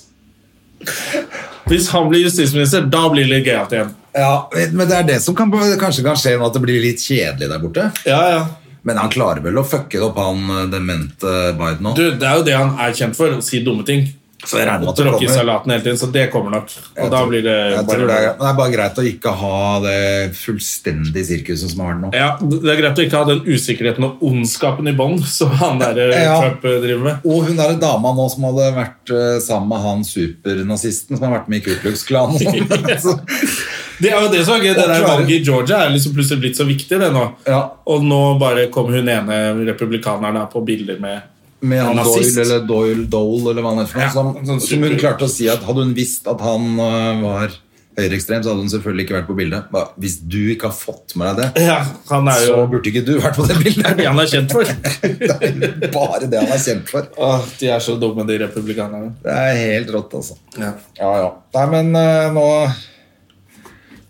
S1: Hvis han blir justisminister, da blir det litt gøyalt igjen.
S2: Ja, men det er det som kan, kanskje kan skje nå, at det blir litt kjedelig der borte.
S1: Ja, ja.
S2: Men han klarer vel å fucke det opp, han eh, demente Biden nå.
S1: Du, det er jo det han er kjent for, å si dumme ting.
S2: Så jeg regner med
S1: Og
S2: at det
S1: tråkke i
S2: kommer.
S1: salaten hele tiden, så det kommer nok.
S2: Jeg
S1: Og da
S2: tror-
S1: blir det
S2: jeg tror det, er,
S1: bare
S2: det er bare greit å ikke ha det fullstendige sirkuset som har nå.
S1: ja, Det er greit å ikke ha den usikkerheten og ondskapen i bånn som han der eh,
S2: Ja.
S1: Trump eh, driver med.
S2: Og hun derre dama nå som hadde vært eh, sammen med han supernazisten som har vært med i Ku Klux Klan og sånn. Så-
S1: Det er jo det som er gøy. Det der
S2: Og klarer-
S1: valget i Georgia er liksom plutselig blitt så viktig, det nå.
S2: Ja.
S1: Og nå bare kom hun ene republikaneren her på bilder med
S2: Med han
S1: En nazist.
S2: Doyle eller Doyle Dole eller hva han er for noe.
S1: Ja,
S2: som,
S1: en sånn
S2: som hun
S1: super-
S2: klarte å si at hadde hun visst at han eh, var høyreekstrem, så hadde hun selvfølgelig ikke vært på bildet. Ba, Hvis du ikke har fått med deg det,
S1: Ja, han er jo
S2: så burde ikke du vært på
S1: Det
S2: det
S1: er
S2: bildet.
S1: det han er kjent for.
S2: Det er jo bare det han er kjent for.
S1: Åh, de er så dumme, de republikanerne.
S2: Det er helt rått, altså.
S1: Ja.
S2: Ja, ja. Nei, men eh, nå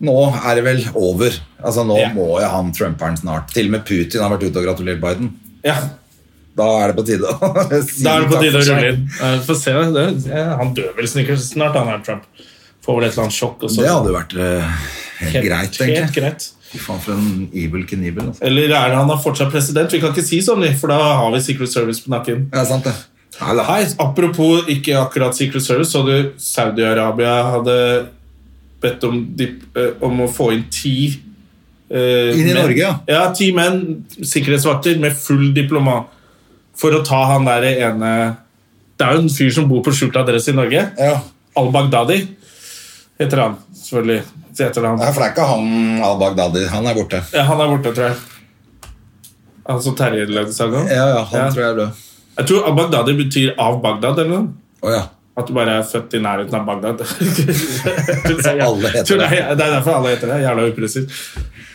S2: Nå er det vel over. Altså, nå
S1: Ja.
S2: må jo han trumperen snart. Til og med Putin har vært ute og gratulert Biden.
S1: ja.
S2: Da er det på tide å si
S1: Da er det på
S2: takk
S1: tide
S2: for
S1: å
S2: seg.
S1: rulle inn. Eh, Få se. Det, ja, han dør vel sikkert snart, han her Trump. Får vel et eller annet sjokk. Og så.
S2: Det hadde jo vært eh, helt, greit,
S1: Helt
S2: egentlig.
S1: greit.
S2: Fy faen, for en evil knibel. Altså.
S1: Eller er det han er fortsatt president? Vi kan ikke si sånn, for da har vi Secret Service på nakken.
S2: Ja, sant det. Nei, da.
S1: Hei, apropos ikke akkurat Secret Service, så du Saudi-Arabia hadde bedt om, de, eh, om å få inn ti eh,
S2: Inn i
S1: menn.
S2: Norge, ja.
S1: Ja, ti menn, sikkerhetsvakter, med full diplomat for å ta han der ene Det er jo en fyr som bor på skjult adresse i Norge.
S2: Ja.
S1: Al-Baghdadi heter han, selvfølgelig. Så heter han.
S2: Nei, for det er ikke han al-Baghdadi. Han er borte.
S1: Ja, han er borte, tror jeg. Han som Terje lagde sang om?
S2: Ja, ja, han
S1: Ja.
S2: tror jeg er død.
S1: Jeg tror Baghdadi betyr 'av Bagdad'. eller noe.
S2: Å ja.
S1: At du bare er født i nærheten av Bagdad. alle
S2: heter
S1: det.
S2: det.
S1: er derfor alle heter det. Jævla upresist.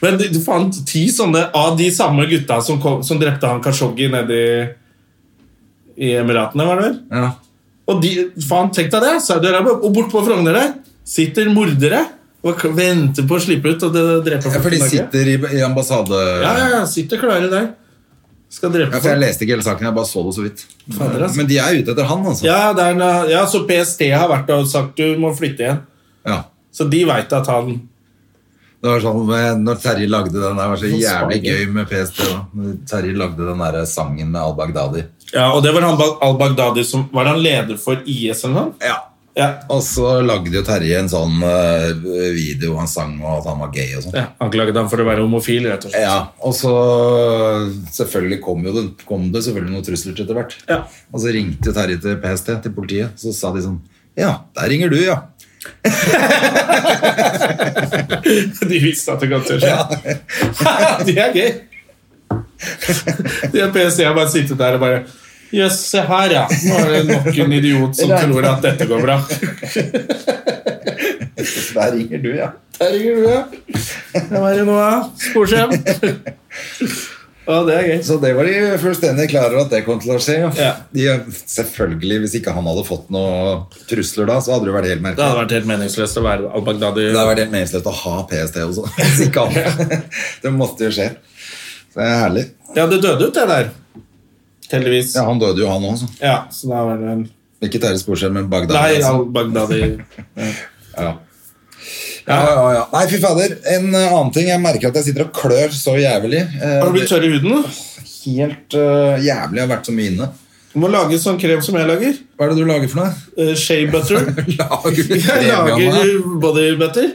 S1: Men du fant ti sånne av de samme gutta som, kom, som drepte han Kashoggi nede i, i Emiratene, var det vel?
S2: ja.
S1: Og de, faen, tenk deg det! Saudi-Arabia. Og bort på Frogner der sitter mordere og k- venter på å slippe ut og det- drepe folk
S2: ja for
S1: i
S2: de
S1: Norge.
S2: sitter i, i ambassade...
S1: Ja, ja, ja, sitter klare der. Skal drepe
S2: Ja, for jeg leste ikke hele saken, jeg bare så det så vidt.
S1: Fader, altså.
S2: Men de er ute etter han, altså.
S1: Ja, det er en- ja, så PST har vært og sagt du må flytte igjen.
S2: Ja.
S1: Så de veit at han
S2: Det var sånn, eh, når Terje lagde den der, var så jævlig
S1: svager.
S2: gøy med PST da. Når Terje lagde den der sangen med Al-Baghdadi.
S1: Ja, og det var han Ba- al-Baghdadi som Var han leder for IS eller noe?
S2: Ja.
S1: Ja.
S2: Og så lagde jo Terje en sånn eh, video han sang og at han var gay og sånn.
S1: ja. Anklaget ham for å være homofil, rett og slett.
S2: Ja, og så selvfølgelig kom, jo det, kom det selvfølgelig noen trusler til etter hvert.
S1: Ja.
S2: Og så ringte jo Terje til PST, til politiet, så sa de sånn Ja, der ringer du, ja.
S1: De visste at det kom til å skje. De er gøy. De er PST har bare sittet der og bare Jøss, se her, ja. Nå er det nok en idiot som tror at dette går bra.
S2: Der ringer du, ja.
S1: Der ringer du, ja. Hva er det nå, da? Sporsem? Ja, det er gøy.
S2: Så det var de fullstendig klar over at det kom til å skje. Ja.
S1: Ja.
S2: De, selvfølgelig, hvis ikke han hadde fått noen trusler da, så hadde det jo vært helt
S1: Det hadde
S2: merkelig.
S1: vært helt meningsløst å være al-Baghdadi.
S2: Det hadde vært helt meningsløst å ha PST også. Hvis ikke han. Det måtte jo skje. Så det er herlig.
S1: Ja, det døde ut, det der. Heldigvis.
S2: Ja, han døde jo han også.
S1: Ja, så da var det en
S2: Ikke Terje Sporsem, men Bagdad.
S1: Nei,
S2: altså.
S1: al-Baghdadi
S2: Ja. Ja, ja, ja. Nei, fy fader. En eh, annen ting. Jeg merker at jeg sitter og klør så jævlig. Eh,
S1: Har du blitt tørr i huden? da?
S2: Helt eh, jævlig. Jeg har vært så mye inne.
S1: Du må lage sånn krem som jeg lager.
S2: Hva er det du lager for noe?
S1: Eh, Shea butter.
S2: Lager du
S1: Jeg
S2: krem, Janne?
S1: lager body butter.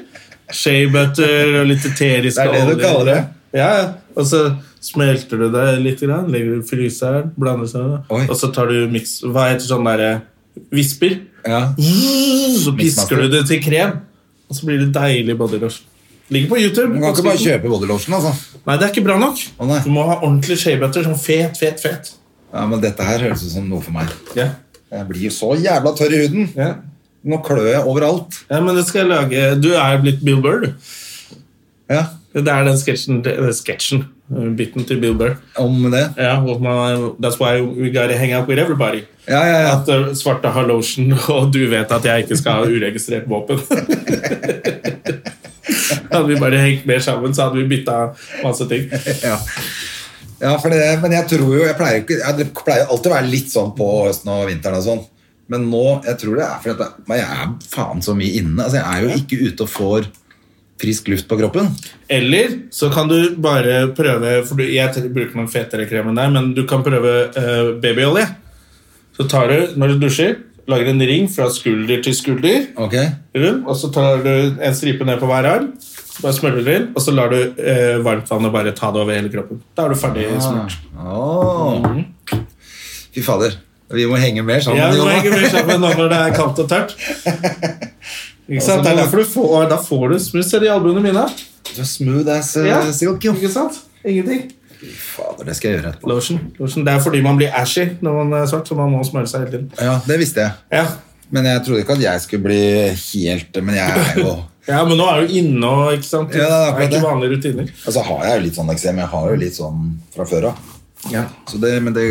S1: Shea butter og litt eterisk
S2: Er det det du
S1: olje.
S2: kaller det?
S1: Ja, ja. og så smelter du det litt, grann, legger det i fryseren, blander sammen.
S2: Oi.
S1: Og så tar du mix, hva heter sånn derre visper?
S2: Ja.
S1: Så pisker du det til krem, og så blir det deilig body lotion. Ligger på YouTube.
S2: Du kan ikke bare kjøpe bodylotion, altså.
S1: Nei, det er ikke bra nok.
S2: Å, nei.
S1: Du må ha ordentlig shea butter, sånn fet, fet, fet.
S2: Ja, men dette her høres ut som noe for meg.
S1: Ja.
S2: Jeg blir så jævla tørr i huden.
S1: Ja.
S2: Nå klør jeg overalt.
S1: ja, men det skal jeg lage. Du er blitt Bill Burr, du.
S2: Ja,
S1: Det er den sketsjen, det- det er sketsjen, eh, biten til Bill Burr.
S2: om det.
S1: Ja, og man, that's why we gotta hang out with everybody.
S2: Ja, ja, ja.
S1: At eh, svarte har lotion, og du vet at jeg ikke skal ha uregistrert våpen. hadde vi bare hengt mer sammen, så hadde vi bytta masse ting.
S2: ja. ja for det, men jeg tror jo jeg pleier, ikke, jeg pleier alltid å være litt sånn på høsten og vinteren og sånn. Men nå jeg tror det er fordi at jeg- men jeg er faen så mye inne. Altså, jeg er jo ikke ute og får frisk luft på kroppen.
S1: Eller så kan du bare prøve For du, jeg t- bruker noen fetere krem enn deg, men du kan prøve eh, babyolje. Så tar du, når du dusjer, lager en ring fra skulder til skulder.
S2: Ok?
S1: rund, og så tar du en stripe ned på hver arm, så bare smører du det inn, og så lar du eh, varmtvannet bare ta det over hele kroppen. Da er du ferdig smurt.
S2: Ah. Åh. Fy fader. Mm. Vi må henge mer sammen.
S1: Ja, du må
S2: Jonna.
S1: ikke bry seg med nå når det er kaldt og tørt. Ikke sant? Det er derfor du får, da får du smuss i albuene mine.
S2: Du er smooth as uh,
S1: Ja.
S2: silk. jo.
S1: Ikke sant? Ingenting.
S2: Fader, det skal jeg gjøre etterpå.
S1: Lotion. Lotion. Det er fordi man blir ashy når man er svart, så man må smøre seg hele tiden.
S2: Ja, det visste jeg.
S1: Ja.
S2: Men jeg trodde ikke at jeg skulle bli helt Men jeg er jo
S1: ja, men nå er du inne og ikke sant?
S2: Ja, det er akkurat
S1: det er
S2: det.
S1: ikke vanlige rutiner.
S2: Altså har jeg jo litt sånn eksem. Jeg har jo litt sånn fra før av.
S1: Ja.
S2: Så det, men det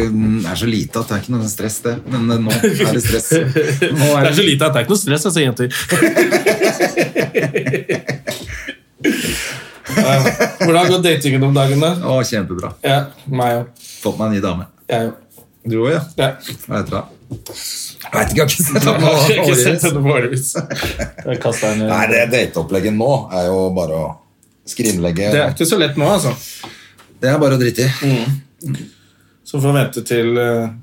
S2: er så lite at det er ikke noe sånn stress, det. Men eh, nå er det stress. Nå
S1: Det
S2: er
S1: er så lite at det er ikke noe stress, altså, jenter. Ja, Hvordan går datingen om dagen, da?
S2: Å, kjempebra.
S1: Ja, meg òg.
S2: Fått meg en ny dame.
S1: Jeg òg.
S2: Du òg, ja?
S1: Ja.
S2: Hva heter hun? Jeg vet ikke, jeg har ikke sett
S1: Jeg
S2: henne
S1: har ikke sett
S2: årevis.
S1: henne på årevis. Jeg kastet henne-
S2: Nei, det dateopplegget nå er jo bare å skrinlegge
S1: Det er Mm. ikke så lett nå, altså.
S2: Det er bare å drite i.
S1: Så får vi vente til eh,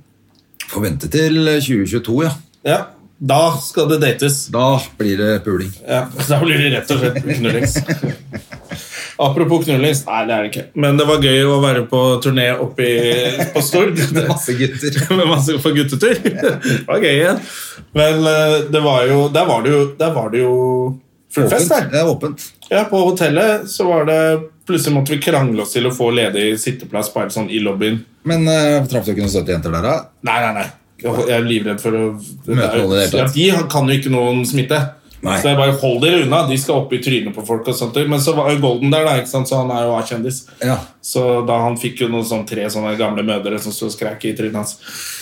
S2: Får vente til 2022, ja.
S1: Ja, da skal det dates.
S2: Da blir det puling.
S1: Ja, da blir det rett og slett knullings. Apropos knullings, nei, det er det ikke. Men det var gøy å være på turné oppe i- på Stord.
S2: Det er masse gutter.
S1: med masse på guttetur. Det var gøy igjen. Men eh, det var jo, der var det jo, der var det jo full fest
S2: Åpent.
S1: der.
S2: Det er åpent.
S1: Ja, på hotellet så var det Plutselig måtte vi krangle oss til å få ledig sitteplass bare sånn i lobbyen.
S2: Men uh, traff du ikke noen søte jenter der, da?
S1: Nei, nei, nei. Jeg er livredd for å det
S2: Møte
S1: er jo-
S2: noen i det hele
S1: ja,
S2: tatt.
S1: De kan jo ikke noen smitte.
S2: Nei.
S1: Så jeg bare hold dere unna. De skal opp i trynet på folk. og sånt Men så var jo Golden der, da, ikke sant? så han er jo A-kjendis.
S2: Ja.
S1: Så da han fikk jo noen sånn tre sånne gamle mødre som sto og skrek i trynet hans.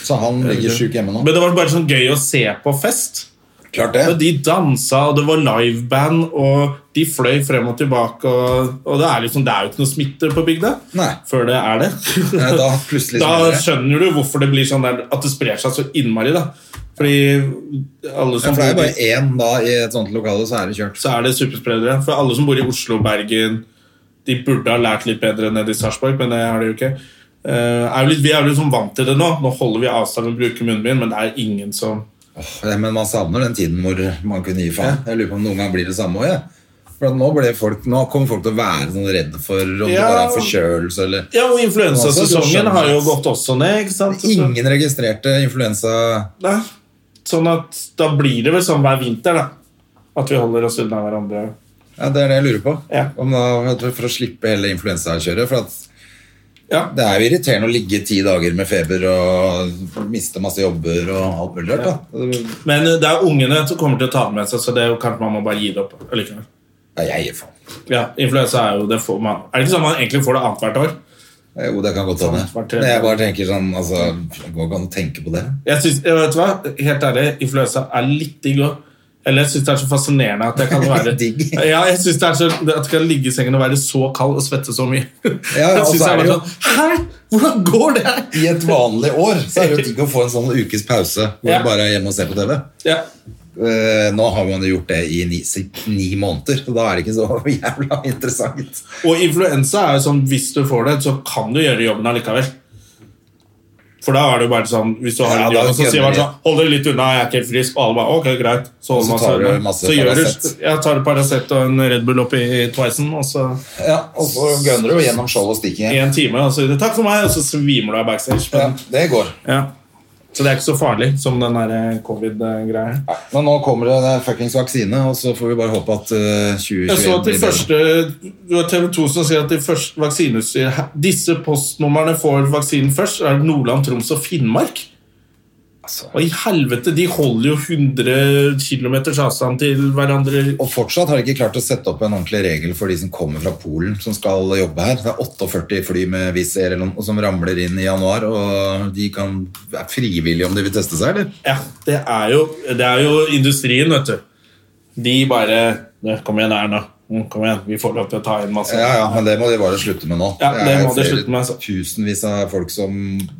S2: Så han ligger sjuk hjemme nå?
S1: Men det var bare sånn gøy å se på fest.
S2: Klart
S1: Og de dansa, og det var liveband, og de fløy frem og tilbake. Og, og det, er liksom, det er jo ikke noe smitte på bygda
S2: Nei. Liksom,
S1: før det er det.
S2: Nei, Eh, da plutselig
S1: Da
S2: smitter det.
S1: skjønner du hvorfor det blir sånn der, at det sprer seg så innmari. da Fordi alle
S2: Ja,
S1: som
S2: for det er jo
S1: bor i-
S2: bare én da i et sånt lokale, så er det kjørt.
S1: så er det superspredere. For alle som bor i Oslo og Bergen, de burde ha lært litt bedre nede i Sarpsborg, men det har de jo ikke. Eh, er jo litt, vi er jo liksom vant til det nå. Nå holder vi avstand og bruker munnbind, men det er ingen som
S2: Åh, Men man savner den tiden hvor man kunne gi faen. Jeg lurer på om noen gang blir det samme òg, jeg. For at nå, ble folk, nå kommer folk til å være sånn redde for om det
S1: Ja.
S2: bare er forkjølelse eller
S1: Ja, og influensasesongen
S2: Altså, du skjønner.
S1: har jo gått også ned, ikke sant? Så-
S2: Ingen registrerte influensa
S1: Nei. Sånn at da blir det vel sånn hver vinter, da. At vi holder oss unna hverandre.
S2: Ja, Det er det jeg lurer på.
S1: Ja.
S2: Om da, for å slippe hele influensakjøret. For at
S1: Ja.
S2: det er jo irriterende å ligge ti dager med feber og miste masse jobber og alt mulig rart. da. Det-
S1: Men eh, det er ungene som kommer til å ta det med seg, så det er jo kanskje man må bare gi det opp. allikevel.
S2: Nei, jeg gir faen.
S1: Ja, Influensa er jo det får man Er det ikke sånn man egentlig får det annethvert år?
S2: Jo, det kan godt hende.
S1: Hvert tredje
S2: Men jeg bare tenker sånn altså, Det går ikke an å tenke på det.
S1: Jeg synes, jeg vet du hva, Helt ærlig, influensa er litt digg òg. Eller jeg syns det er så fascinerende at jeg kan være
S2: Digg.
S1: Ja, jeg synes det er så, at jeg kan ligge i sengen og være så kald og svette så mye.
S2: Ja,
S1: jeg
S2: og så
S1: synes jeg
S2: er
S1: bare
S2: det jo-
S1: sånn, Hæ? Hvordan går det her?
S2: I et vanlig år så er det jo digg å få en sånn ukes pause hvor
S1: Ja.
S2: du bare er hjemme og ser på TV.
S1: Ja.
S2: Eh, nå har man jo gjort det i ni, si- ni måneder, så da er det ikke så jævla interessant.
S1: Og influensa er jo sånn hvis du får det, så kan du gjøre jobben allikevel. For da er det jo bare sånn Hvis du har
S2: Ja,
S1: en
S2: da
S1: jobb, så
S2: kødder
S1: sier man
S2: de.
S1: sånn Hold deg litt unna, jeg er ikke helt frisk. Og alle bare Ok, greit. Så, holder
S2: Og så
S1: man
S2: tar
S1: seg
S2: du
S1: unna.
S2: masse
S1: så gjør du
S2: Paracet.
S1: Jeg tar Paracet og en Red Bull opp i Twicen, og så
S2: Ja, Og så gønner du gjennom skjold og stikk igjen.
S1: en time, og så sier du takk for meg, og så svimer du av backstage.
S2: Ja,
S1: Men,
S2: det går.
S1: ja. Så det er ikke så farlig som den der eh, covid-greia.
S2: Nei, Men nå kommer det en fuckings vaksine, og så får vi bare håpe at eh, 2021
S1: Jeg så at de
S2: blir bedre.
S1: første Det var TV 2 som sier at de første vaksineutstyr Disse postnumrene får vaksinen først. Er det Nordland, Troms og Finnmark? Og i helvete, de holder jo 100 km avstand til hverandre.
S2: Og fortsatt har de ikke klart å sette opp en ordentlig regel for de som kommer fra Polen som skal jobbe her. Det er 48 fly med Wizz Air eller noe som ramler inn i januar, og de kan er frivillige om de vil teste seg, eller?
S1: Ja, det er jo, det er jo industrien, vet du. De bare «Nå, Kom igjen, Erna. Mm, Kom igjen, vi får lov til å ta inn masse.
S2: Ja, ja, men det må de bare slutte med nå.
S1: Ja, det
S2: er
S1: må de
S2: flere
S1: slutte med, altså.
S2: Tusenvis av folk som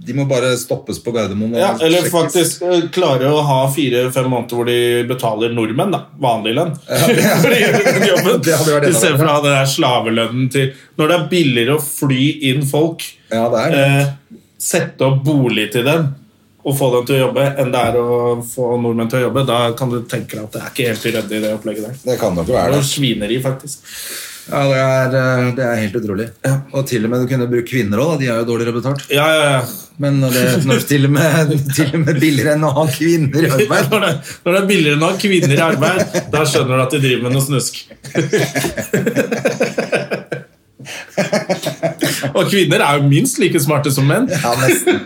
S2: De må bare stoppes på Gardermoen. og
S1: Ja, eller
S2: sjekkes.
S1: faktisk eh, klare å ha fire-fem måneder hvor de betaler nordmenn, da. Vanlig lønn. For de gjør den jobben.
S2: Det hadde vært enda
S1: Istedenfor
S2: bedre.
S1: å ha den der slavelønnen til Når det er billigere å fly inn folk,
S2: Ja, det er det.
S1: eh, sette opp bolig til dem og få dem til å jobbe, enn det er å få nordmenn til å jobbe, da kan du tenke deg at det er ikke helt uryddig, det opplegget der.
S2: Det kan nok
S1: Det
S2: være
S1: er
S2: det.
S1: jo svineri, faktisk.
S2: Ja, det er, eh, det er helt utrolig. Og til og med du kunne brukt kvinner òg, de er jo dårligere betalt.
S1: Ja, ja, ja.
S2: Men når det, når det til, og med, til og med billigere enn å ha kvinner i arbeid
S1: Når det, når det er billigere enn å ha kvinner i arbeid, da skjønner du at de driver med noe snusk. Og kvinner er jo minst like smarte som menn.
S2: Ja, nesten.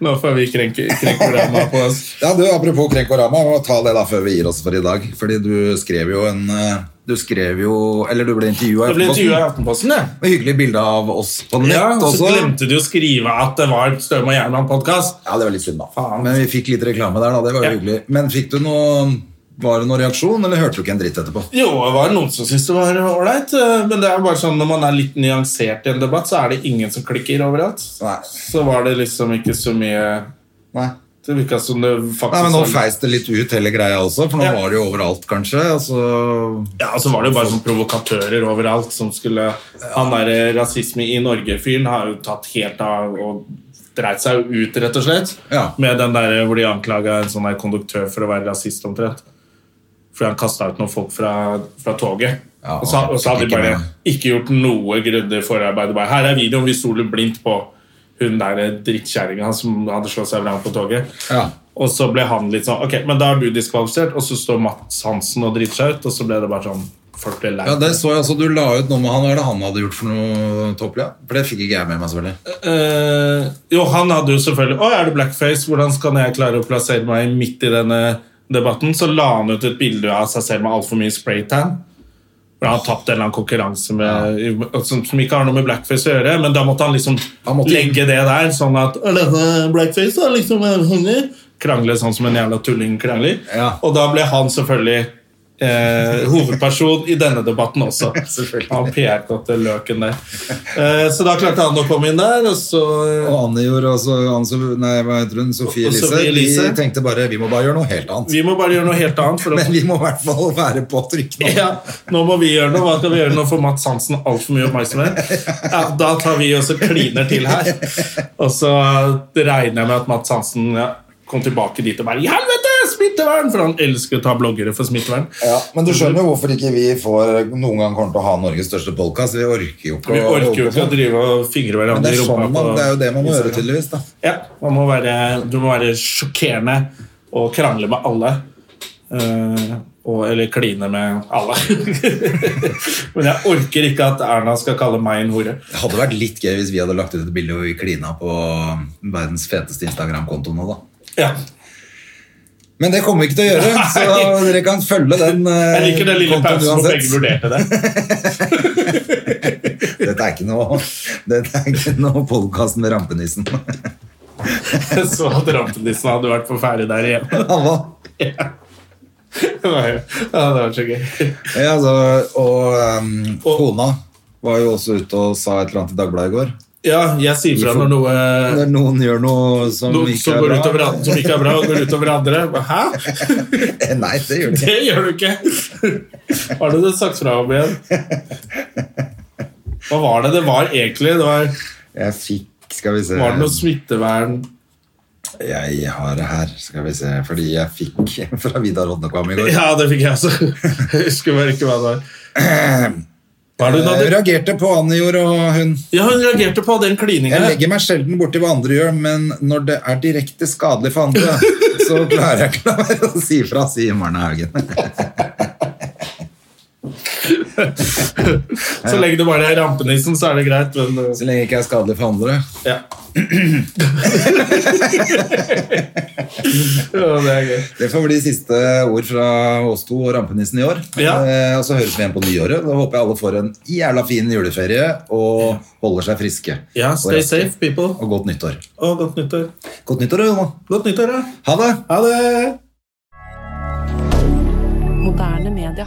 S1: Nå får vi krenke, krenke ramma på oss.
S2: Ja, du, Apropos Krenkorama, vi må ta det da før vi gir oss for i dag. Fordi du skrev jo en eh, Du skrev jo Eller du ble intervjua.
S1: Jeg ble intervjua i Aftenposten, jeg.
S2: Med hyggelig bilde av oss på nett
S1: Ja, og så
S2: også.
S1: glemte de å skrive at det var Støm og Jernmann-podkast.
S2: Ja, det var litt synd, da.
S1: Faen.
S2: Men vi fikk litt reklame der, da. Det var jo
S1: Ja.
S2: hyggelig. Men fikk du noe Var det noen reaksjon, eller hørte du ikke en dritt etterpå?
S1: Jo, det var noen som syntes det var ålreit, eh, men det er bare sånn når man er litt nyansert i en debatt, så er det ingen som klikker overalt.
S2: Nei.
S1: Så var det liksom ikke så mye
S2: Nei.
S1: Det virka som det faktisk
S2: Nei, men Nå
S1: var-
S2: feis det litt ut hele greia også, for nå
S1: Ja.
S2: var det jo overalt, kanskje. Og så
S1: Ja, og så var det jo bare sånn provokatører overalt som skulle Han derre rasisme i Norge-fyren har jo tatt helt av og dreit seg jo ut, rett og slett.
S2: Ja.
S1: Med den der eh, hvor de anklaga en sånn der konduktør for å være rasist, omtrent. Fordi han kasta ut noen folk fra, fra toget.
S2: Ja,
S1: og, så, og så hadde de
S2: ikke
S1: bare
S2: med.
S1: ikke gjort noe grundig forarbeid. Bare, Her er videoen vi stoler blindt på hun der eh, drittkjerringa som hadde slått seg vrang på toget.
S2: Ja.
S1: Og så ble han litt sånn Ok, men da er du diskvalifisert. Og så står Mats Hansen og driter seg ut, og så ble det bare sånn Folk ble lei.
S2: Ja, det så jeg også. Du la ut noe med han. Hva er det han hadde gjort for noe tåpelig? ja? For det fikk ikke jeg med meg, selvfølgelig.
S1: Eh, jo, han hadde jo selvfølgelig Å, er det blackface? Hvordan skal jeg klare å plassere meg midt i denne debatten? Så la han ut et bilde av seg selv med altfor mye spraytan. For han har tapt en eller annen konkurranse med, i- som, som ikke har noe med blackface å gjøre. Men da måtte han liksom
S2: Han måtte-
S1: legge det der, sånn at «Å, dette er blackface da, liksom, er det sånn?» Krangle sånn som en jævla tulling krangler.
S2: Ja.
S1: Og da ble han selvfølgelig eh, hovedperson i denne debatten også.
S2: Selvfølgelig.
S1: Han PR-katte løken der. Eh, så da klarte han å komme inn der, og så eh,
S2: Og Anne gjorde altså Anne, Sol- Nei, hva heter hun? Sofie
S1: Og
S2: Elise.
S1: Sophie
S2: Vi
S1: Elise.
S2: tenkte bare vi må bare gjøre noe helt annet.
S1: Vi må bare gjøre noe helt annet. For å,
S2: Men vi må i hvert fall være på trykk nå.
S1: ja, nå må vi gjøre noe. Hva skal vi gjøre nå? Får Mats Hansen altfor mye oppmerksomhet? Ja, da tar vi også kliner til her. Og så eh, regner jeg med at Mats Hansen ja, kom tilbake dit og bare I helvete! Smittevern! For han elsker å ta bloggere for smittevern.
S2: Ja, men du skjønner jo hvorfor ikke vi får noen gang kommer til å ha Norges største podkast. Vi orker jo ikke
S1: Vi
S2: å-
S1: orker jo ikke å drive og fingre
S2: Men
S1: hverandre i
S2: det er,
S1: rumpa.
S2: sånn man,
S1: på-
S2: det er jo det man må gjøre, tydeligvis. da
S1: Ja, man må være, du må være sjokkerende og krangle med alle. Eh, og, eller kline med alle. Men jeg orker ikke at Erna skal kalle meg en hore.
S2: Det hadde vært litt gøy hvis vi hadde lagt ut et bilde hvor vi klina på verdens feteste Instagram-konto nå, da.
S1: Ja,
S2: Men det kommer vi ikke til å gjøre, så dere kan følge den eh,
S1: jeg liker den lille
S2: kontoen
S1: pausen hvor
S2: uansett.
S1: begge vurderte det.
S2: Dette er ikke noe, dette er ikke noe podkast med rampenissen.
S1: Jeg så at rampenissen hadde vært på ferde der igjen.
S2: Han
S1: Det var jo-
S2: var
S1: ja, det var så gøy.
S2: Ja, altså, og ehm,
S1: Og-
S2: kona var jo også ute og sa et eller annet i Dagbladet i går.
S1: Ja, jeg sier fra når noe
S2: Når noen gjør noe som
S1: noe
S2: ikke
S1: som går
S2: er
S1: ut over
S2: bra.
S1: andre, som ikke er bra, og går ut over andre. Hæ?
S2: Eh, Nei, det gjør det ikke.
S1: Det gjør du ikke! Har du det sagt fra om igjen? Hva var det det var egentlig? Det var,
S2: Jeg fikk Skal vi se
S1: var det noe smittevern
S2: Jeg har det her, skal vi se. Fordi jeg fikk fra Vidar Odnekvam i går.
S1: Ja, det fikk jeg også. Jeg husker bare ikke hva det var. Hva er det hun
S2: Jeg
S1: hadde?
S2: reagerte på Anjor og hun.
S1: Ja, hun reagerte på den
S2: Jeg
S1: klininga.
S2: legger meg sjelden borti hva andre gjør, men når det er direkte skadelig for andre, så klarer jeg ikke å la være å si fra, sier Marne Haugen.
S1: Så lenge det bare er rampenissen, så er det greit. Men
S2: Så lenge jeg ikke er skadelig for andre.
S1: ja. ja, det er gøy.
S2: Det får bli siste ord fra oss to og rampenissen i år.
S1: Ja.
S2: Eh, og så høres vi igjen på nyåret. Da håper jeg alle får en jævla fin juleferie og holder seg friske.
S1: Ja,
S2: Og
S1: stay
S2: raske.
S1: safe, people.
S2: Og godt nyttår.
S1: Og godt nyttår.
S2: Godt nyttår, Jonna.
S1: Godt nyttår, ja.
S2: Ha det!
S1: Ha det!
S3: Moderne media.